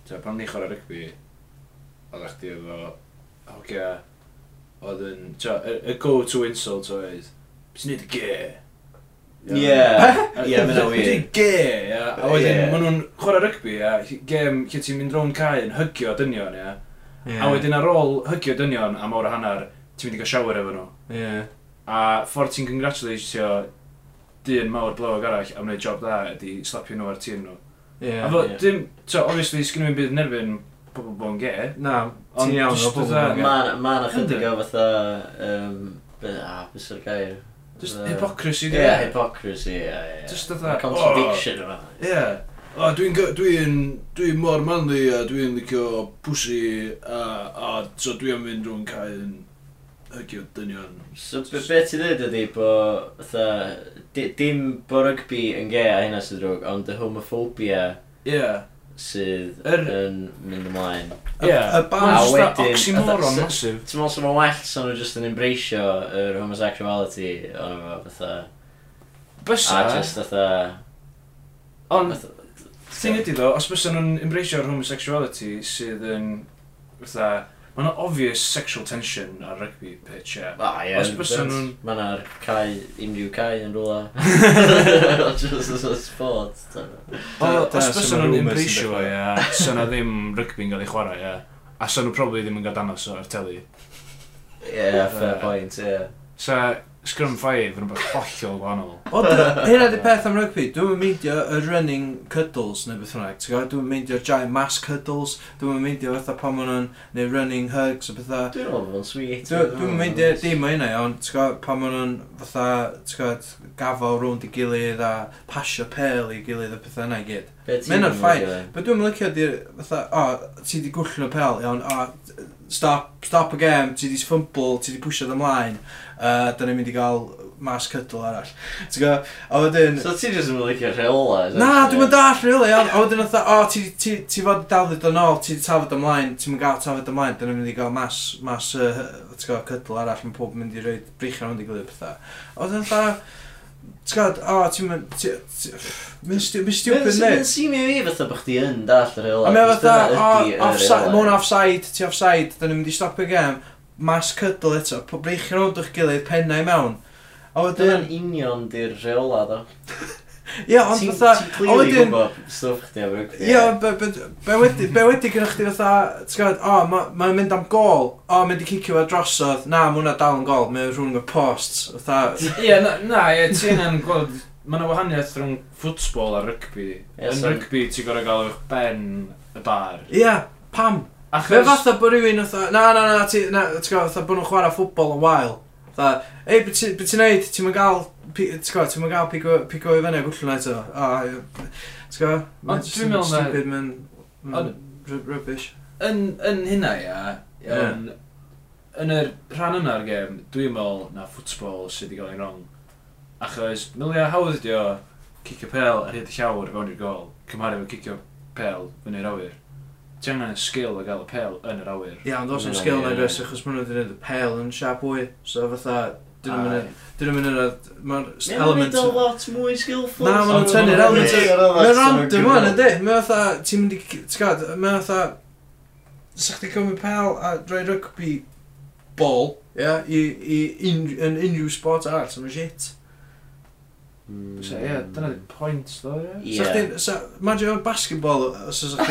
S3: Ta, pan o'n i'n chwarae rygbi, oedd chdi efo hogia oedd yn, t'o, y- y go-to insult oedd, bys ni'n gay? Ie.
S1: Ie. Ie, ma' hynna'n
S3: Bys ni
S1: weird.
S3: gay, ia. A wedyn,
S1: Ie.
S3: maen nhw'n chwarae rygbi, ia, gêm lle ti'n mynd rown cae yn hygio dynion, ia. A wedyn ar ôl hygio dynion am awr a hanner, ti'n mynd i gael shower efo nhw.
S2: Ie.
S3: A ffordd ti'n congratulateio dyn mawr blawag arall am wneud job da ydi slapio nhw ar tîn nhw. A fo,
S2: Ie.
S1: Ie.
S3: dim, so, obviously, sgyn i'n byd nerfyn pobl bo'n ge.
S2: Na,
S3: Ond
S2: ti'n iawn o
S3: jyst
S2: bobl.
S3: fatha-
S2: yn gay.
S1: Mae'n ma ychydig o fatha... Um, be- ah, beth yw'r gair?
S3: Just
S1: Fatha-
S3: hypocrisy,
S1: Ie,
S3: di.
S1: hypocrisy, ie, ie.
S3: Just fatha,
S1: Y Contradiction yma.
S3: Ie. O, dwi'n go- dwi'n dwi'n mor manly a dwi'n licio pussy a, a so dwi'n mynd rhwng cael yn hygio dynion.
S1: So, be, be ti'n dweud ydi bod, fatha, di- dim bo rygbi yn ge a hynna sydd drwg, ond y homophobia
S3: Ie.
S1: sydd
S3: Yr-
S1: yn mynd ymlaen.
S2: Y- y band-
S1: A
S3: Mae'n just that
S1: wedyn-
S3: oxymoron
S1: fatha-
S3: massive.
S1: Ti'n meddwl sy'n well sy'n nhw just yn embraceio yr homosexuality o'n efo fatha. A
S3: Bysa,
S1: just fatha...
S3: ond
S1: fatha-
S3: thing ydi ddo, os bysa nhw'n embracio'r homosexuality sydd yn, fatha, mae'n obvious sexual tension ar rugby pitch, ie.
S1: Ah, ie.
S3: Os bysa nhw'n-
S1: Mae yna'r cae, unrhyw cae yn rhywle. Just as a sport. ti'n gwbod.
S3: Wel,
S2: Dyna
S3: os
S2: sut ma'
S3: bysyn nhw'n
S2: rumours yn
S3: embraceio fo,
S2: dechrau.
S3: ia, sa na ddim rygbi'n cael ei chwarae, ia. A sa nhw probably ddim yn cael danos o'r teli.
S1: Ie, fair point, ie.
S3: Sa Scrum 5 yn rhywbeth hollol wahanol.
S2: O, dy- hynna di peth am rygbi. Dwi'n meindio y running cuddles neu beth hwnna. Dwi'n meindio giant mass cuddles. Dwi'n meindio fatha pan maen nhw'n neu running hugs a bethau.
S1: Dwi'n meddwl bod o'n sweet.
S2: Dwi'n mynd i ddim o hynna iawn, ti'n gwybod, pan maen nhw'n fatha, ti'n gwybod, gafo rownd i gilydd a pasio pel i gilydd a pethau yna i gyd.
S1: Be ti'n
S2: Ma' hynna'n
S1: meddwl,
S2: fine.
S1: Gillian?
S2: Be dwi'n mylicio di, fatha, o, ti di gwllio pel, iawn, o, stop, stop y gem, ti di ffymbl, ti di pwysio'n ymlaen, uh, da ni'n mynd i gael mas cydl arall. Ti'n gwybod, a wedyn...
S1: So ti jyst yn mylicio rheola? is
S2: Na,
S1: it?
S2: dwi'n mynd all rili, iawn, a wedyn oedd, o, ti, ti, ti fod i dafod yn ôl, ti 'di tafod ymlaen, ti'n mynd gael tafod ymlaen, dyn ni'n mynd i gael mas, mas, uh, ti'n gael, cydl arall, mae pob yn mynd i reid brichau rhwnd i gilydd pethau. A wedyn oedd, ti'n gael, o, ti'n mynd, ti- ti- mae'n stu- mae'n stupid
S1: Mae'n
S2: nid.
S1: swnio i fi fatha bod chdi yn dall yr hela.
S2: A mae'n fatha, o, offside, mwyn offside, ti offside, dyn ni'n mynd i stopio gem, mas cydl eto, po- brichau rhwnd o'ch gilydd, pennau mewn. A
S1: Dyna'n
S2: wedyn,
S1: union di'r rheola, do.
S2: ie, ond
S1: Ti'n-
S2: fatha,
S1: Ti'n
S2: a
S1: clearly
S2: wedyn,
S1: gwybod stwff chdi am rygbi.
S2: Ie, ond be, be, be wedi, be wedi gyda chdi fatha, ti'n gwybod, o, mae'n ma ma'n mynd am gol, o, mae'n di cicio fe drosodd, na, mae hwnna dal yn gol, mae'n rhwng y posts, fatha,
S3: Ie, na, na, ie, ti yna'n gweld, mae yna wahaniaeth rhwng ffwtsbol a rygbi.
S1: Ie,
S3: Yn
S1: so-
S3: rygbi, ti'n gorau gael eich ben y bar.
S2: ie, pam, be
S3: Achos,
S2: fatha bod rhywun fatha, na, na, na, ti, na, ti'n gwybod, fatha bod nhw'n chwarae ffwbol yn wael, fatha, ei, beth ti'n neud, ti'n mynd gael, pi- ti'n gwybod, ti'n mynd gael pigo, pigo i fyny a gwllio na eto, o, ie, ti'n gwybod,
S3: Ond
S2: mae'n just
S3: dwi'n
S2: yn
S3: meddwl na-
S2: stupid, mae'n, mae'n
S3: Ond-
S2: ry- rubbish.
S3: yn, yn hynna, ia,
S2: Ie.
S3: yn, yn yr rhan yna'r gem, dwi'n meddwl na ffwtsbol sydd wedi cael ei wrong. Achos, milia hawdd ydi o, cicio pel a rhaid y llawr fewn i'r gol, cymharu efo cicio pel yn yr awyr. Ti angen y sgil o gael y pel yn yr awyr.
S2: Ie, ond os yn
S1: Ie,
S2: sgil
S1: ie,
S2: na
S1: ie.
S2: gres, achos maen nhw wedi gwneud y pel yn siap fwy, so fatha, dyn nhw'n
S3: A-
S2: mynd Dyn nhw'n mynd yr... Mae'r
S1: Mae'n
S2: element...
S1: mynd a lot mwy skillful.
S2: Na, maen nhw'n
S3: Ond-
S2: tynnu'r element...
S3: Ie,
S2: Mae'n random o'n ydy. Mae'n fatha... Ti'n mynd i... Ti'n gad? Mae'n fatha... Sa chdi cymryd pel a droi rygbi ball, ie, i, i un, yn unrhyw sport arall, so mae'n shit.
S3: So, ie, dyna di pwynt, ddo, ie.
S1: Hmm. Ie.
S2: Sa chdi... sa- Imagine o'n basketball, os oes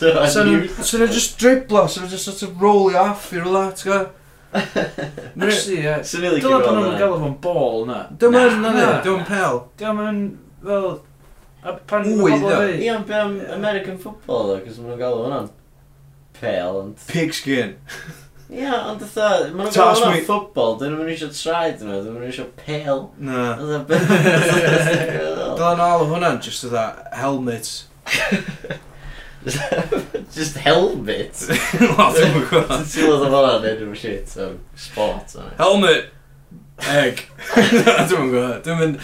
S2: chdi... So nhw'n just driblo, so nhw'n just sort of roll off i rola, ti'n gad?
S3: Actually, ie.
S1: Sy'n rili
S3: Dyna pan
S1: gyfrol
S3: nhw'n gael o'n bol, na.
S2: Dyma,
S1: Na,
S2: na, na,
S3: na.
S2: dyma'n pel.
S3: Diolch yn, fel... A pan
S2: Wy,
S3: ma' pobl
S2: ddo.
S3: yn
S1: Ie, ond be am American football, ddo, cos maen nhw'n gael hwnna'n pale, ond...
S2: Pigskin.
S1: Ie, ond ytho, maen nhw'n gael
S2: Toss
S1: hwnna'n
S2: me-
S1: football, dyn nhw'n eisiau traed nhw, dyn nhw'n eisiau pale.
S2: Na.
S1: Ytho, be- Ytho,
S2: Dylan all o hwnna'n just fatha helmet.
S1: Just helmet.
S2: Wel, dwi'm yn gwbod.
S1: Ti'n teimlo dda fo'na, neu dwi'n shit, so sport. so.
S2: Helmet! Egg. Dwi'n yn gwybod. Dwi'n mynd...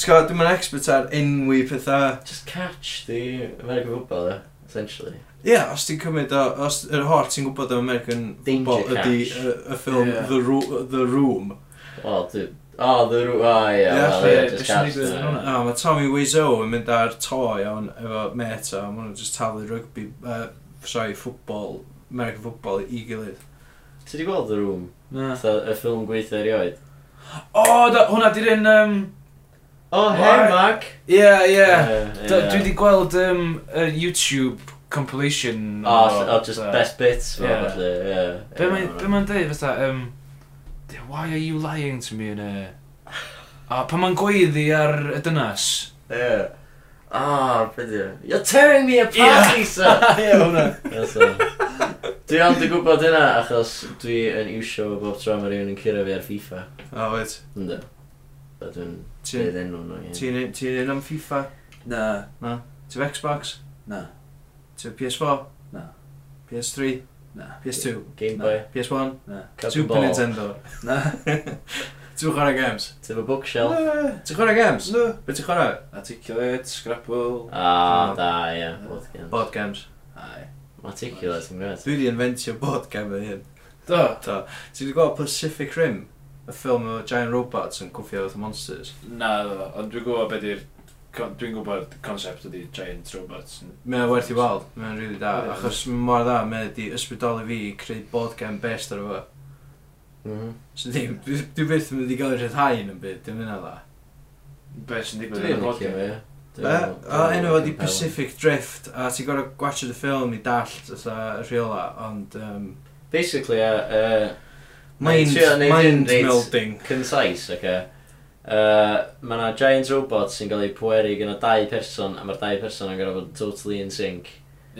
S2: Ti'n gwybod, dwi'n mynd expert ar enwi pethau.
S1: Just catch the American football, ddo, essentially.
S2: Ie, yeah, os ti'n cymryd, o- os yr holl ti'n gwybod am American
S1: Danger
S2: football ydy
S1: Catch.
S2: y, y ffilm
S3: Ie.
S2: The, Ro The Room.
S1: O, dwi... O, the rw... O, ie,
S2: Ie,
S1: wel,
S3: lle,
S1: ie,
S3: be'
S1: just
S3: sy'n
S1: catch
S3: digwydd yn
S1: the...
S3: hwnna?
S2: A mae Tommy Wiseau yn mynd ar to iawn efo met o, maen nhw'n just taflu rugby, uh, sorry, ffwbol American football i gilydd.
S1: Ti wedi gweld y rŵm?
S3: Na.
S1: Fatha y ffilm gweithio erioed.
S3: O, da- hwnna di'r un... yym,
S1: O,
S3: What?
S1: Hemag!
S3: Ie, ie.
S1: Yy,
S3: Da-
S1: ie.
S3: Dwi wedi gweld yym, y YouTube compilation
S1: O, ll- o, just
S3: fatha-
S1: best bits. fo,
S3: Ie.
S1: felly, ie.
S3: Be
S1: Ie,
S3: mae'n
S1: ma'
S3: be mae'n dweud fatha, um, why are you lying to me yn y... A pan mae'n gweiddi ar y dynas.
S1: Ie. Ah, beth yw. You're tearing me apart,
S3: Ie.
S1: Lisa!
S2: Ie, hwnna.
S1: That's all. Dwi ond yn gwybod hynna achos dwi yn iwsio fo bob tro mae rhywun yn cyrra fi ar FIFA.
S2: O, wait.
S1: Ynddo. A dwi'n
S2: Ti-
S1: dweud enw nhw. ie.
S2: Ti'n un- ti'n un am FIFA?
S3: Na,
S2: Ti'n Xbox?
S3: na,
S2: Ti'n PS4?
S3: Na.
S2: PS3?
S3: na,
S2: PS2?
S1: Game Boy.
S2: PS1?
S3: na,
S1: Cup and
S2: Super
S1: Ball.
S2: Nintendo?
S3: na.
S2: Ti'n chwarae games?
S1: Ti'n fy bookshelf.
S2: Ti'n chwarae games?
S3: No.
S2: Be ti'n chwarae?
S3: Articulate, Scrabble.
S1: Ah, da, ie. Both games.
S2: Board games.
S3: Ai.
S1: Maticulous, yn gwrs.
S2: Dwi wedi inventio board game yn hyn.
S3: Do.
S2: Ta. Ti'n wedi gweld Pacific Rim? Y ffilm o giant robots yn cwffio wrth monsters.
S3: Na, do, ond dwi'n gwybod beth i'r... Dwi'n gwybod concept ydi giant robots.
S2: Mae o werth i weld, mae'n rili really da,
S3: Ie.
S2: achos mae mor dda, mae wedi ysbrydoli fi i creu board game best ar efo.
S1: Mhm.
S2: So ddim, dwi dwi byth yn mynd i gael ei rhyddhau yn y byd, dim yna dda.
S3: Be sy'n digwydd
S1: Dwi'n
S3: yn y bod
S1: licio fe.
S3: game.
S1: Dwi'n-
S2: Be? O,
S1: dwi'n
S2: enw oedd i
S1: compelling.
S2: Pacific Drift, a ti'n gorau gwachod y ffilm i dallt fatha y rheola, ond... Um,
S1: Basically, ie, uh,
S2: mind,
S1: trio neud hyn
S2: mind
S1: reit-
S2: melding.
S1: concise, oce. Uh, mae yna giant robot sy'n cael ei pweru gyda dau person, a mae'r dau person yn gorfod bod totally in sync.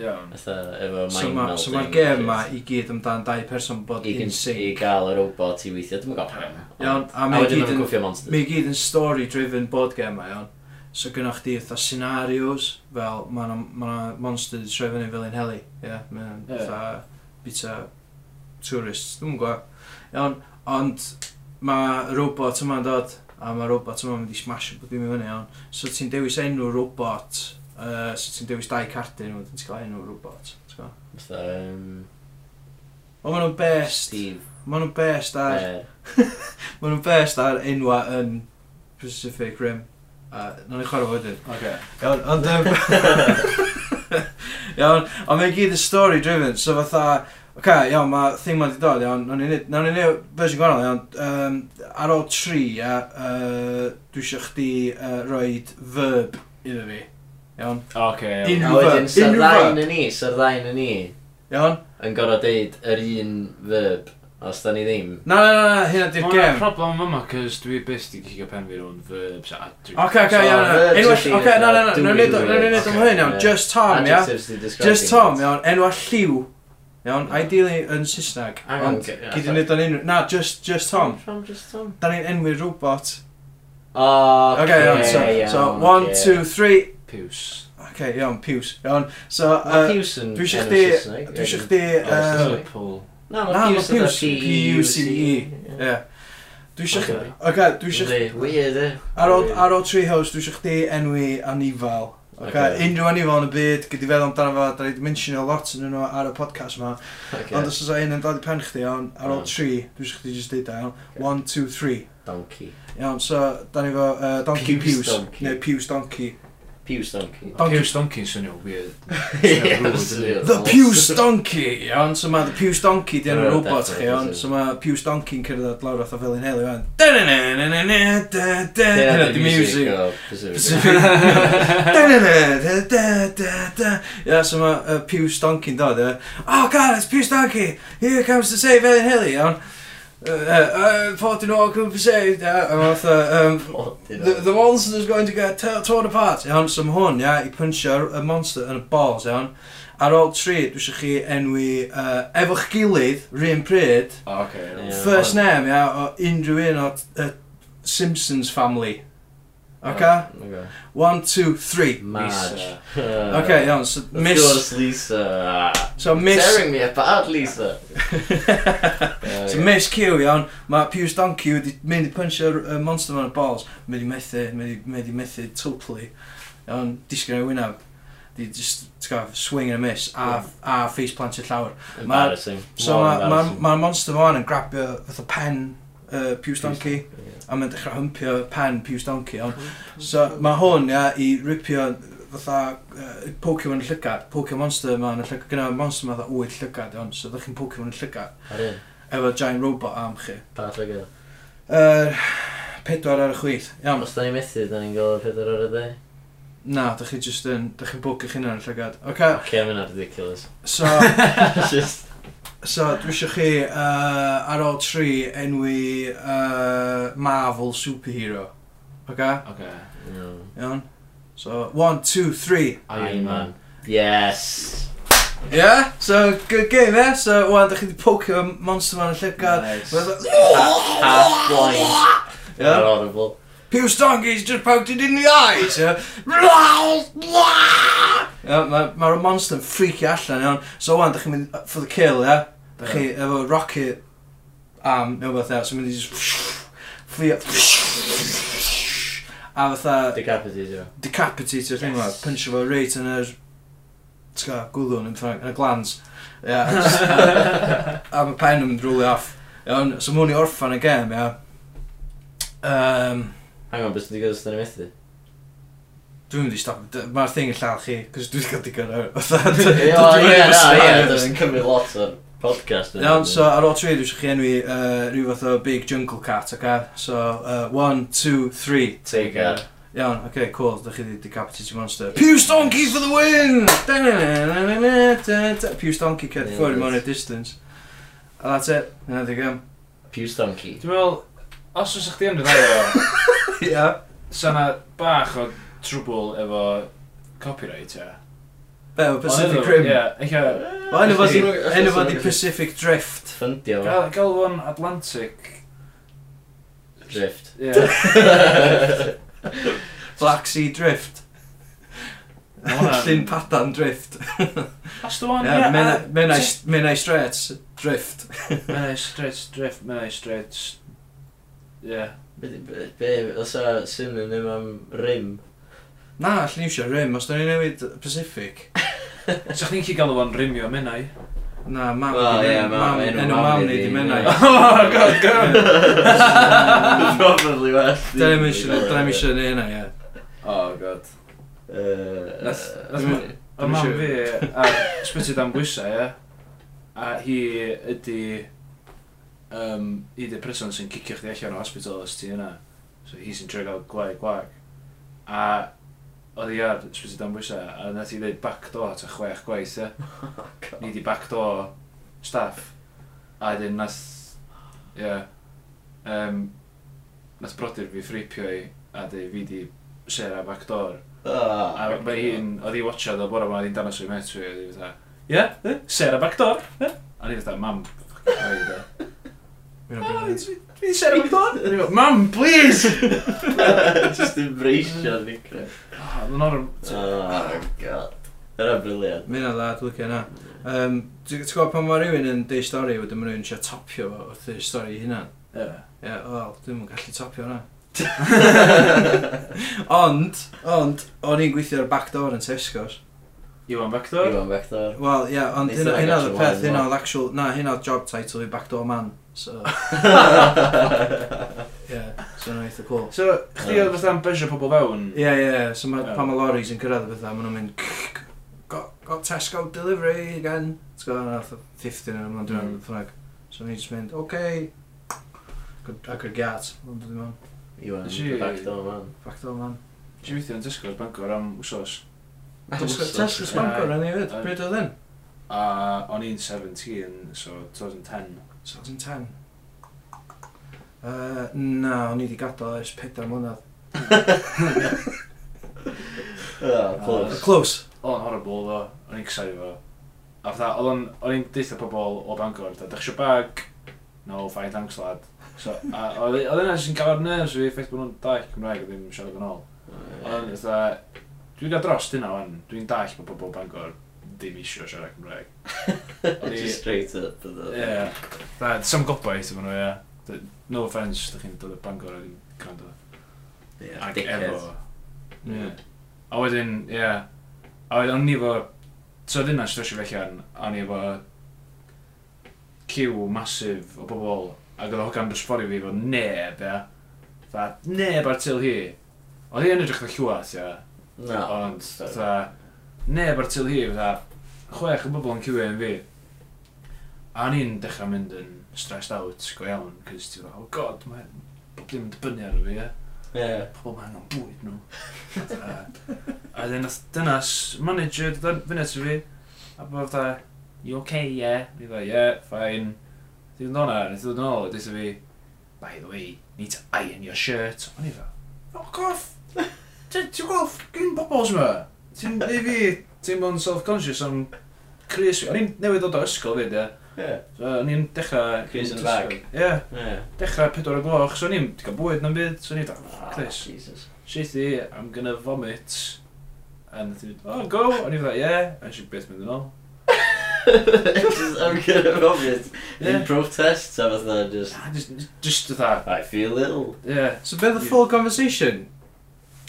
S3: Iawn.
S1: Fatha, efo mind
S2: So
S1: melding.
S2: mae'r so ma gem ma i gyd amdan dau person bod
S1: I,
S2: in
S1: can, I
S2: sync.
S1: gael y robot i weithio, dwi'n gael pan.
S2: Iawn, a
S1: A
S2: mae
S1: wedyn
S2: gyd
S1: nhw'n
S2: yn
S1: gwffio monsters.
S2: Mae i gyd yn story-driven board game mae iawn. So gynnwch chdi fatha scenarios, fel mae yna ma monster wedi troi fyny fel un heli. Ie, yeah, mae yna'n
S3: Ie.
S2: fatha bita tourists, dwi'n gwybod. Iawn, ond mae robot yma'n dod, a mae robot yma'n mynd i smash bod dim i fyny iawn. So ti'n dewis enw robot, uh, so ti'n dewis dau cardyn, wedyn ti'n cael enw robot. ti'n gwbo?
S1: Fatha, um,
S2: Ond maen nhw'n best,
S1: Steve.
S2: maen nhw'n best ar
S1: Er,
S2: Maen nhw'n best ar enwa yn Pacific Rim. A nawn ni chwarae fo wedyn.
S3: Oce.
S2: Iawn, ond... yym, Iawn, ond mae'n gyd yn story driven, so fatha... Ok, iawn, mae thing ma'n di dod, iawn, nawn ni neud- nawn ni neud version gwahanol, iawn. Um, ar ôl tri, ia, uh, dwi eisiau chdi uh, roed verb iddo fi. Iawn,
S3: Oce, iawn.
S1: a
S2: Unrhyw
S1: wedyn,
S2: verb,
S1: sy'r
S2: unrhyw
S1: ddain
S2: verb.
S1: yn ni, sy'r ddain yn ni,
S2: iawn.
S1: yn gorfod deud yr un verb, os da ni ddim.
S2: Na, na, na, na, hynna di'r
S3: Mae'n
S2: gem.
S3: problem yma, cos dwi byth di gicio pen fi rhwng verbs a... dwi-
S2: Ok, ok,
S1: So,
S2: iawn, iawn.
S1: verbs
S2: Enwa-
S1: ydi
S2: ok, na, na, na,
S1: fatha
S2: nawn ni neud o-
S1: do
S2: nawn ni neud
S3: words.
S2: o'n hyn, iawn,
S1: Ie.
S2: just Tom, ia.
S1: Adjectives to describe
S2: Just
S1: things.
S2: Tom, iawn, enwa lliw. Iawn, ideally yn Saesneg.
S1: Mm. Hang on,
S2: Ond,
S1: ge-
S2: gyd i wneud o'n unrhyw... Na, just, just Tom.
S1: From just Tom.
S2: Da ni'n enwi robot.
S1: Oh,
S2: Ok, iawn, so, so, one, two, three.
S3: Piws.
S2: Ok, iawn, piws. Iawn, so,
S1: Mae
S2: yy,
S1: piws yn
S2: dwi isio
S1: enw
S2: chdi-
S1: Saesneg,
S2: dwi isio
S1: wedyn-
S2: chdi... um,
S1: Oh,
S2: yy,
S1: sorry.
S3: Liverpool.
S1: Na,
S2: Na,
S1: mae piws
S2: mae
S1: yn
S2: piws,
S1: E.
S2: P-U-C-E.
S1: P-U-C-E.
S2: Ie. Dwi isio chdi...
S1: Ocê.
S2: Ok, dwi isio chdi...
S1: Weird, e?
S2: Ar ôl, ar ôl tri host, dwi isio chdi enwi anifal. Ok,
S1: Ocê.
S2: unrhyw anifal yn y byd, gyda feddwl amdano fo, da ni wedi mentionio lot yn nhw ar y podcast yma. Ond os oes o un yn dod i pen chdi, iawn, ar ôl
S1: Mm.
S2: tri, dwi eisiau chdi jyst deud o, iawn.
S1: Ocê.
S2: One, two, three.
S1: Donkey.
S2: Iawn, so, da ni fo uh, Donkey
S1: Piws
S2: Pews.
S1: donkey.
S2: Neu Pews Donkey.
S1: Piws donkey.
S2: Donkey.
S3: Piws Donkey swnio weird.
S2: The Pews Donkey! Iawn, so mae The Pews Donkey di enw
S1: Oh,
S2: robot
S1: definitely,
S2: chi, iawn.
S1: is it?
S2: So mae Pews Donkey'n cyrraedd lawr o'r fel un heli, iawn. Dyna di music. Pacific Yeah, so mae uh, Pews Donkey'n dod, ie. Oh god, it's Pews Donkey! Here comes to save Ellen Hilly, iawn. Uh, uh, Fort yn ôl cwmpa saved, ie. A mae fatha, um, The, the monster's going to get t- torn apart. Iawn, so mae hwn, ia, i punchio'r y monster yn y balls, iawn. Ar ôl tri, dwi eisiau chi enwi uh, efo'ch gilydd, rhywun pryd,
S3: O, oce.
S1: Ie.
S2: first name, ia, o unrhyw un o uh, Simpsons family. OK? One, two, three.
S1: Madge.
S3: Lisa.
S1: Uh,
S2: OK, iawn, so
S1: Of
S2: Miss...
S1: course, Lisa.
S2: So Miss...
S1: Tearing me apart, Lisa. Uh,
S2: So Miss Q, iawn, mae Piws Donkey wedi mynd i punchio'r uh, monster mewn y balls. Mae wedi methu, mae wedi- mae wedi methu totally. Iawn, disgyn o'i wynaf. Di just, ti'n gwybod, swing and a miss, a, a face plant i'r llawr.
S1: Embarrassing.
S2: So
S1: More
S2: mae'r ma,
S1: embarrassing.
S2: ma ma'r monster fo'n yn grabio fatha pen uh, Piws Donkey, a mae'n dechrau hympio pen Piws Donkey, iawn. So mae hwn, ia, i ripio fatha uh, Pokemon llygad, Pokemon Monster yma yn y llygad, gyda Monster yma fatha 8 llygad iawn, so ydych chi'n Pokemon llygad,
S1: Ar un,
S2: efo giant robot arm chi.
S1: pa llygad.
S2: Uh, pedwar ar y chwith, iawn.
S1: Os da ni'n methu, da ni'n gael pedwar o'r ydau.
S2: Na, dych chi just yn, dych chi'n bwc eich hunan yn y llygad. Oce,
S1: Ok, mae'n ridiculous.
S2: so,
S1: Just,
S2: so dwi eisiau chi uh, ar ôl tri enwi uh, Marvel superhero. Oce,
S3: Okay.
S1: no.
S2: iawn. So, one, two, three.
S1: Iron Man. Yes!
S2: Yeah, so good game, yeah? So, wan, da chi wedi pokio monster man yn llygad.
S3: Nice.
S1: Half blind.
S2: Yeah.
S1: They're horrible.
S2: Pew Stonky's just poked it in the eyes, yeah? Yeah, Mae'r ma ma'r monster yn freaky allan, iawn. So, wan, da chi'n mynd uh, for the kill, yeah? Da chi efo rocket arm, neu beth, yeah? So, mynd i just... Fflio... A fatha
S1: Decapitated.
S2: decapitate o'r thing,
S1: Yes.
S2: yes. punch fo reit yn yr... Tga, gwddwn, yn ffrang, yn y glans. Yeah, just- a mae pen yn mynd rwli off. Iawn, so mwyn i orffan y gem, ia. Um,
S1: Hang on, beth sy'n digwydd os da ni'n methu?
S2: dwi'n mynd i stop, d- mae'r thing yn lladd chi, cos dwi'n cael digon o'r...
S1: Ie,
S2: fatha, dwi- dwi- dwi-
S1: ie, na,
S2: dwi-
S1: ie,
S2: dwi-
S1: does yn cymryd lot o'r podcast. yn-
S2: Iawn, so ar ôl tri, dwi'n siarad chi enwi uh, rhyw fath o big jungle cat, oce? So, uh, one, two, three.
S1: Take care.
S2: Iawn, oce, okay, cool, dych chi di decapitated monster. Pew Stonky for the win! Da-na-na-na-na-na-na-na. Pew Stonky cedd
S1: Yeah,
S2: ffwrdd
S1: that's-
S2: mewn i'r distance. A that's it, yna di gem.
S1: Pew Stonky.
S3: Dwi'n meddwl, os oes chdi yn rhywbeth o,
S2: Ia.
S3: sa na bach o trwbl efo copyright, ia.
S2: Be, o Pacific Rim.
S3: Ie, eich o...
S2: Wel, enw fo di-
S1: Felly-
S2: enw fo
S1: felly-
S2: di Pacific Drift.
S1: Ffundio fo.
S3: Gael gael fo'n Atlantic...
S1: Drift.
S3: Ie.
S2: Black Sea Drift.
S3: Ma' hwnna'n-
S2: Llyn Padan Drift.
S3: That's the one,
S2: Ie,
S3: ie.
S2: Menai- Menai Menai Straits Drift.
S3: Menai Straits Drift, Menai Straits... Ie.
S1: Be- be- Be, uh, os a synonym am um, rim.
S2: Na, allwn ni eisiau rym, os da ni newid Pacific.
S3: Sa'ch ni'n gallu gael fo'n rimio Menai?
S2: Na, mam,
S1: Wel,
S2: di-
S1: ie, mam-
S2: mam-
S1: enw
S2: enw
S1: mam
S2: mam
S1: di
S2: ni di
S1: di-
S2: Menai.
S1: ie.
S3: Oh, god, god!
S1: Probably well.
S2: Da ni'm eisiau- da ni'm eisiau neu hynna, ie.
S3: Oh, god.
S1: Uh,
S3: That's- that's
S1: Yy...
S3: my- Y mam fi ar sbyty dan bwysau, ie. A hi ydi... Um, hi ydi person sy'n cicio chdi allan o hospital os ti yna. So hi sy'n trio gael gwaeg gwaeg. A oedd hi ar sbyty dan bwysau, a nath hi ddeud backdoor ta chwech gwaith, ie. Ni di backdoor staff. A wedyn nath... Ie. Yeah, um, nath brodyr fi ffripio i, a dweud fi di sera backdoor.
S1: Ah.
S3: A mae hi'n, oedd hi watchad o bora ma, oedd hi'n danos o'i met fi, oedd hi fatha, ie, eh, Sarah Backdoor, ie? A ni fatha, mam, ffocin rhaid e.
S2: Ma' hynna'n brilliant.
S3: Fi Sarah Backdoor? A ni fatha, mam, please!
S1: Just embraceio ni cref.
S3: Ah, Mae'n orm,
S1: Oh, god. Dyna briliant.
S2: Ma' hynna'n dda, dwi'n licio hynna. Yym, ti- ti'n gwbod pan ma' rywun yn deud stori, wedyn ma' rywun isio topio fo wrth deud stori ei hunan?
S3: ie.
S2: Ie, wel, dwi'm yn gallu topio hwnna. Ond, ond, o'n i'n gweithio ar backdoor yn Tesco's.
S3: Iwan Backdoor?
S1: Iwan Bector.
S2: Wel, ie, yeah, ond
S1: Neith
S2: hynna
S1: hwnna
S2: hynna oedd
S1: actual one, wel.
S2: y peth, hynna oedd actual, na, hynna oedd job title i Backdoor Man, so, ie, yeah, so hynna eitha cool.
S3: So, chdi oedd fatha'n besio pobl fewn?
S2: Ie, yeah, ie, yeah, so ma,
S3: Ie.
S2: pan mae lorries yn cyrraedd y bethau, maen nhw'n mynd, "Cc, got, got Tesco delivery again, ti'n gwybod, yna oedd 15 yn ymlaen dwi'n
S3: Mm.
S2: ffrag. So ni'n just mynd, okay, Good- ac yr gat, ond dwi'n mynd,
S1: Iwan
S3: Gee.
S1: Bector, man.
S2: Backdoor Man.
S3: Ti'n weithio yn Tesco's Bangor am wsos?
S2: Tesco Tesco
S3: ie.
S2: Spangor yn ei fyd,
S3: Ie.
S2: bryd oedd hyn?
S3: A o'n i'n 17, so 2010.
S2: 2010. Uh, na, o'n i wedi gadael ers 4 mlynedd.
S1: Oh, close.
S2: Close.
S3: Oedd o'n horrible ddo, o'n i'n cysau fo. A fatha, oedd o'n, o'n i'n deitha pobol o Bangor, da, dach eisiau bag? No, fine, thanks lad. So, a oedd e, oedd yna sy'n gael ar nerves fi, ffaith bod nhw'n dall Cymraeg a ddim siarad yn ôl. Oedd o'n fatha, dwi'n gael dros dyna o'n, dwi'n dall bod pobol o Bangor ddim eisiau siarad Cymraeg. O'n i-
S1: Just straight up.
S3: Ie, yeah. da, sam gobaith efo nhw, ie. D- No offence, dach chi'n dod o Bangor ac yn gwrando.
S1: Yeah,
S3: Ac
S1: dickhead.
S3: efo. Ie. A wedyn, ie. Yeah. A wedyn, o'n i efo... So, dyna sydd eisiau fellan, a o'n i efo... Cyw masif o bobl, ac oedd hogan dros ffordd i fi efo neb, ie. Fa, neb ar til hi. Oedd hi yn edrych fel llwath, ie.
S1: Na.
S3: Ond, fatha, neb ar til hi, fatha, chwech o bobl yn cywio yn fi. A o'n i'n dechrau mynd yn stressed out go iawn, cys ti'n fatha, oh god, mae bob dim yn dibynnu ar fi, ie.
S1: Ie.
S3: Pobl mae angen bwyd nhw. Fatha, a wedyn nath dynas, manager, dod fyny at fi, a bod fatha, you okay, yeah? Fi dda, yeah, fine. Dwi'n dod hwnna, nath i ddod yn ôl, a dweud wrtho fi, by the way, need to iron your shirt. O'n i dda, fuck off! Ti- Ti'n gweld gyn bobl sy'n yma? Ti'n ei fi teimlo'n self-conscious am Chris fi. O'n i'n newid dod o ysgol fyd, ie.
S1: Ie.
S3: So, O'n i'n dechrau...
S1: Chris yn y bag.
S3: Ie,
S1: Ie.
S3: dechrau 4 o'r gloch, so o'n i'n cael bwyd na'n byd, so o'n i'n dweud, fuck
S1: Ah,
S3: this.
S1: Jesus.
S3: Shithy, I'm gonna vomit. A nath i fynd, oh, go! O'n i'n dweud, yeah. A nes i beth mynd yn ôl.
S1: Just, I'm gonna rob it. In
S3: Ie.
S1: protest, a fatha, just,
S3: A Just, just dda,
S1: I feel ill.
S3: yeah.
S2: So be the full conversation?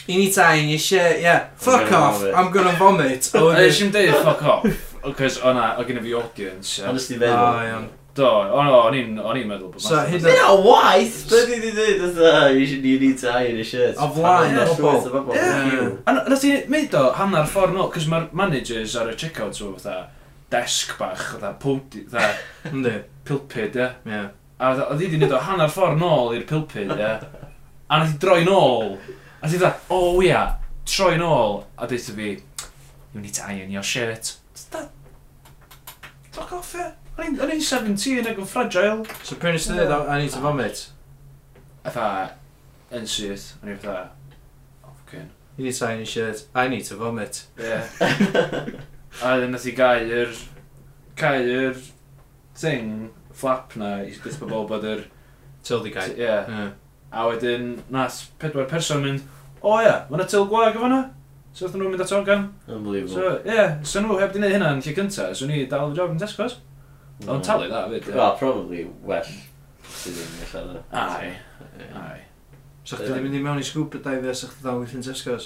S2: You need to iron your shit, yeah. Fuck
S1: gonna
S2: off,
S1: vomit.
S2: I'm gonna vomit. A
S3: A nes
S2: wedyn-
S3: i'n dweud, fuck off. Cos o'na, o gynnu fi audience. ie.
S1: Honestly,
S2: O,
S1: feddwl.
S2: Ah, iawn.
S3: Do, o'n o'n i'n o'n i'n meddwl bod
S2: So,
S3: math-
S2: hyd
S1: Dwi'n o waith, beth i di dweud, fatha, you should- you need to iron your shirt.
S2: O flaen
S1: Pan
S2: y
S1: llwyth
S2: bobl.
S1: o bobl.
S2: Ie.
S1: Phew.
S3: A n- nath i wneud o hanner ffordd nôl, cos mae'r managers ar y check-out o fatha desk bach, fatha podi, fatha
S2: Yndi,
S3: pulpid, ie.
S2: ie.
S3: A fatha- oedd i wedi wneud o hanner ffordd nôl i'r pulpid, ie. A nath i droi nôl. A nath i dda, o oh, ia, yeah. troi nôl. A dweud fi, you need to iron your shirt. Da, fuck off, ie. O'n i'n- O'n i'n 17 ac yn fragile.
S2: So pryn ystod dweud, I need to vomit.
S3: A fatha, yn syth, o'n i'n fatha, oh, fucking,
S2: You need to iron your shit. I need to vomit.
S3: ie. A wedyn nath i gau yr... Gau yr... Thing, flap na, i byth bobl bod yr...
S2: Tildy guy.
S3: Ie.
S2: Ie.
S3: A wedyn nath pedwar person mynd, o ie, mae'na til gwag efo hwnna. So wnaethon nhw'n mynd at organ.
S1: Unbelievable.
S3: So, ie, so nhw heb di wneud hynna yn lle cynta, so ni dal y job yn Tesco's. Ond
S1: Mm.
S3: talu da, fyd. ie.
S1: Well, probably well. Sydd ddim yn lladd.
S3: Ai, ai.
S2: So chdi ddim mynd i mewn i scuba dive a chdi dal within Tesco's?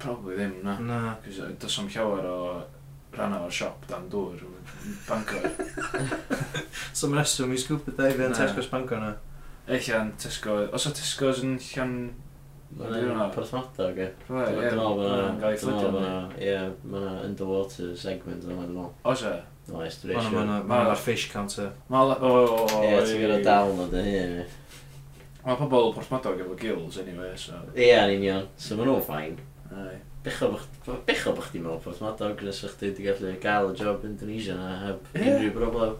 S3: Probably ddim, na.
S2: Na.
S3: Cos yy, does am llawer o rhan o'r siop dan dŵr yn Bangor.
S2: So mae'n rheswm i scuba dive yn
S3: Na.
S2: Tesco's Bangor na.
S3: Ella'n Tesco, os o Tesco's yn llan... Dwi'n
S1: Mae'n
S3: meddwl-
S1: porthmada, ge.
S3: Dwi'n
S1: Dwi'n meddwl bod
S3: meddwl
S1: yna...
S3: yn gael ei
S1: Dwi'n meddwl
S3: fflydio.
S1: bod
S3: neu?
S1: yna... Ie, mae yna underwater segment yna, dwi'n meddwl.
S3: Os e?
S1: Oes, dwi'n
S2: Mae'n
S1: eisiau.
S2: yna,
S3: Ma'
S2: mae'n
S3: na.
S2: yna fish counter.
S3: Mae... O, o, o,
S1: Ie, ti'n gyda dawn o dy hyn.
S3: Mae pobl Portmadog efo gills, anyway, so...
S1: Ie, yn union. So maen nhw'n ffain.
S3: Ai.
S1: Becho bych chdi mewn porthmadog, nes o'ch chdi wedi gallu gael y job Indonesia na heb
S3: Ie.
S1: unrhyw broblem.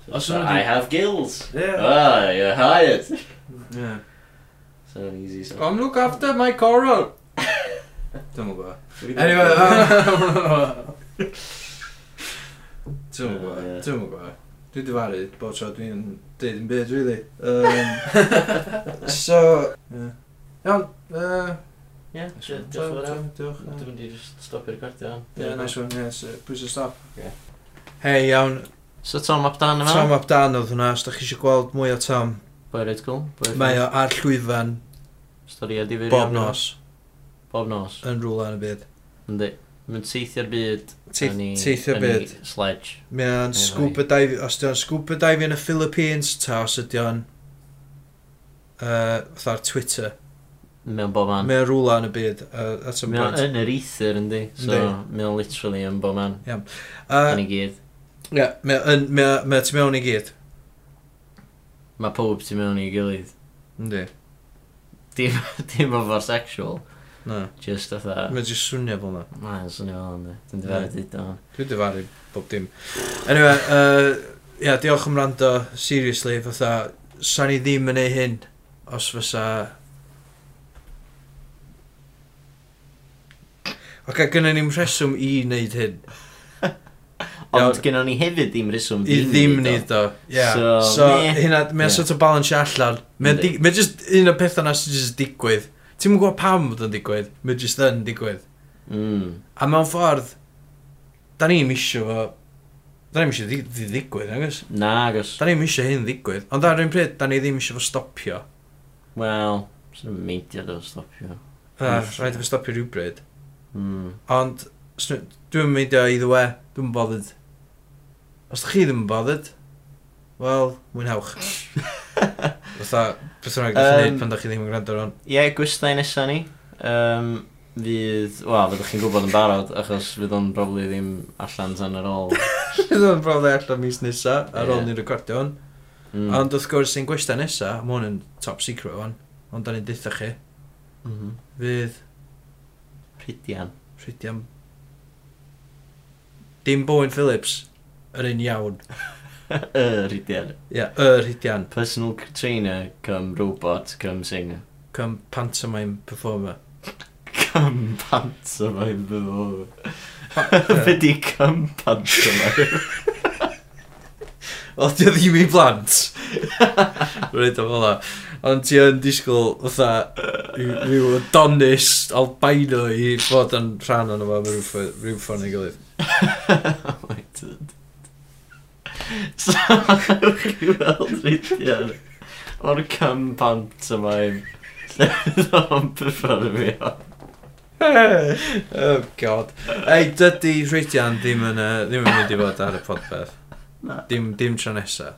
S1: So,
S3: Os
S1: so,
S3: o'n nhw
S1: I
S3: di-
S1: have gills.
S3: Ie.
S1: Ah, you're hired.
S2: Ie.
S1: So an easy so.
S2: Come look after my coral! Dwi'n mwyn gwybod. Anyway, Dwi'n mwyn gwybod,
S1: Ie.
S2: dwi'n mwyn gwybod. Dwi'n difaru, bod tro dwi'n deud yn byd, really. Um, so... ie. Iawn, uh,
S1: Yeah, diolch yn fawr iawn. Dwi'n mynd i just stop i'r gwardio.
S2: Yeah, nice one, yeah, so, pwys y stop.
S1: Ie.
S2: Hei, iawn,
S1: So Tom ap dan yma?
S2: Tom ap dan oedd hwnna, os da chi eisiau gweld mwy o Tom,
S1: Boy Red Cool.
S2: mae o ar llwyfan
S1: Stori a difyr.
S2: bob nos
S1: Bob nos.
S2: yn rhywle yn y byd.
S1: Yndi. Mae'n teithio'r byd. a ni-
S2: Teithio
S1: a ni
S2: byd.
S1: Sledge.
S2: Mae o'n
S1: Neu
S2: scuba dive, os di o'n scuba dive yn y Philippines, ta os ydi o'n uh, ar Twitter.
S1: Mewn bob man.
S2: Mae o'n rhywle yn y byd, uh, at some
S1: Mae o
S2: point.
S1: yn yr ether yndi. So
S2: Yndi.
S1: mae o literally yn bob man. Da
S2: Uh,
S1: ni gyd.
S2: Ie, mae o'n mae o tu mewn i gyd.
S1: Mae pob ti mewn i gilydd.
S2: Yndi.
S1: Dim o'r sexual.
S2: Na.
S1: Just otha.
S2: Mae jyst swnio fel na.
S1: Mae'n swnio fel yndi. Dwi'n dyfaru dweud o'n.
S2: Dwi'n dyfaru bob dim. Anyway, uh, ia, diolch am rando, seriously, fatha, sa'n i ddim yn ei hyn, os fysa... Ac a gynnu ni'n rheswm i wneud hyn.
S1: Ond gynnon ni hefyd ddim rheswm
S2: I ddim wneud o. Ia.
S1: So,
S2: So,
S1: meh.
S2: hynna, mae'n
S1: Ie.
S2: sort o balansio allan. Mae'n
S1: Yndi.
S2: dig- mae jyst un o pethau na sy'n jyst digwydd. Ti'n gwybod pam bod o'n digwydd, mae'n jyst yn digwydd.
S1: Mm.
S2: A mewn ffordd, da ni'n misio fo... Da ni'n misio ddi- ddi- ddigwydd, agos?
S1: Na, agos.
S2: Da ni'n misio hyn ddigwydd. Ond ar un pryd, da ni ddim misio fo stopio.
S1: Wel, sy'n nhw'n meindio do stopio.
S2: Uh,
S1: Mm.
S2: rhaid i fo stopio rhywbryd.
S1: Mm.
S2: Ond, s- dwi'n mynd o either way, dwi'n bothered. Os da chi ddim yn bothered, wel, mwynhewch. Fytha, beth rhaid i
S1: Yym.
S2: chi wneud pan da chi ddim yn gwrando ar hwn.
S1: Ie, yeah, gwestai nesaf ni. Um, fydd... Wel, fyddwch chi'n gwybod yn barod, achos fydd o'n probably ddim allan tan ar ôl.
S2: Bydd o'n brofi allan mis nesa, ar ôl
S1: Ie.
S2: ni'n recordio hwn.
S1: Mm.
S2: Ond wrth gwrs, ein gwestiwn nesa, mae hwn yn top secret o'n, ond da ni'n ditha chi,
S1: Mhm.
S2: fydd
S1: Rhidian.
S2: rhaid am... Dim Bowen Phillips, yr un iawn.
S1: Y Rhidian.
S2: Ia, y rhidian,
S1: Personal trainer, cum robot, cum singer.
S2: cym pantomime performer.
S1: Cum pantomime before.
S2: Pa-
S1: Fe di cum pantomime.
S2: Wel, di o ddim i blant. Rhaid o fel Ond ti yn disgwyl, fatha, i- ryw Adonis albino i fod yn rhan o'n efo mewn rhyw ffo- rhyw ffordd neu gilydd.
S1: Wait. Oh So, ewch chi weld Rhidian o'r cum pantomime. Lle fydd o'n performio.
S2: oh god. Ei, dydy rhidian ddim yn, yy, ddim yn mynd i fod ar y podpeth.
S1: Na.
S2: Dim, dim tro nesa.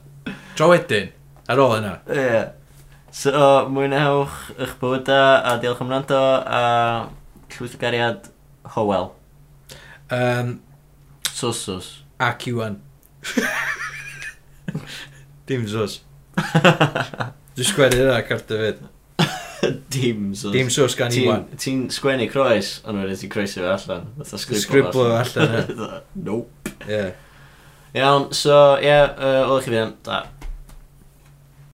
S2: Tro wedyn, ar ôl yna.
S1: Ie. So, mwynewch eich bywyda a diolch am rando a llwythgariad Howell.
S2: Um,
S1: Sos, sos.
S2: ac Iwan. dim sos. Dwi'n sgweru yna ar carta fyd.
S1: Dim sos.
S2: Dim sos gan Iwan.
S1: Ti'n ti'n sgwennu croes, ond wedyn ti'n croesi fe allan. Fatha
S2: Sgriblo
S1: sgriblo
S2: fe allan, ie.
S1: Fatha, Nope.
S2: Ie.
S1: Iawn, so, ie, yeah, uh, olwch chi fynd. Da.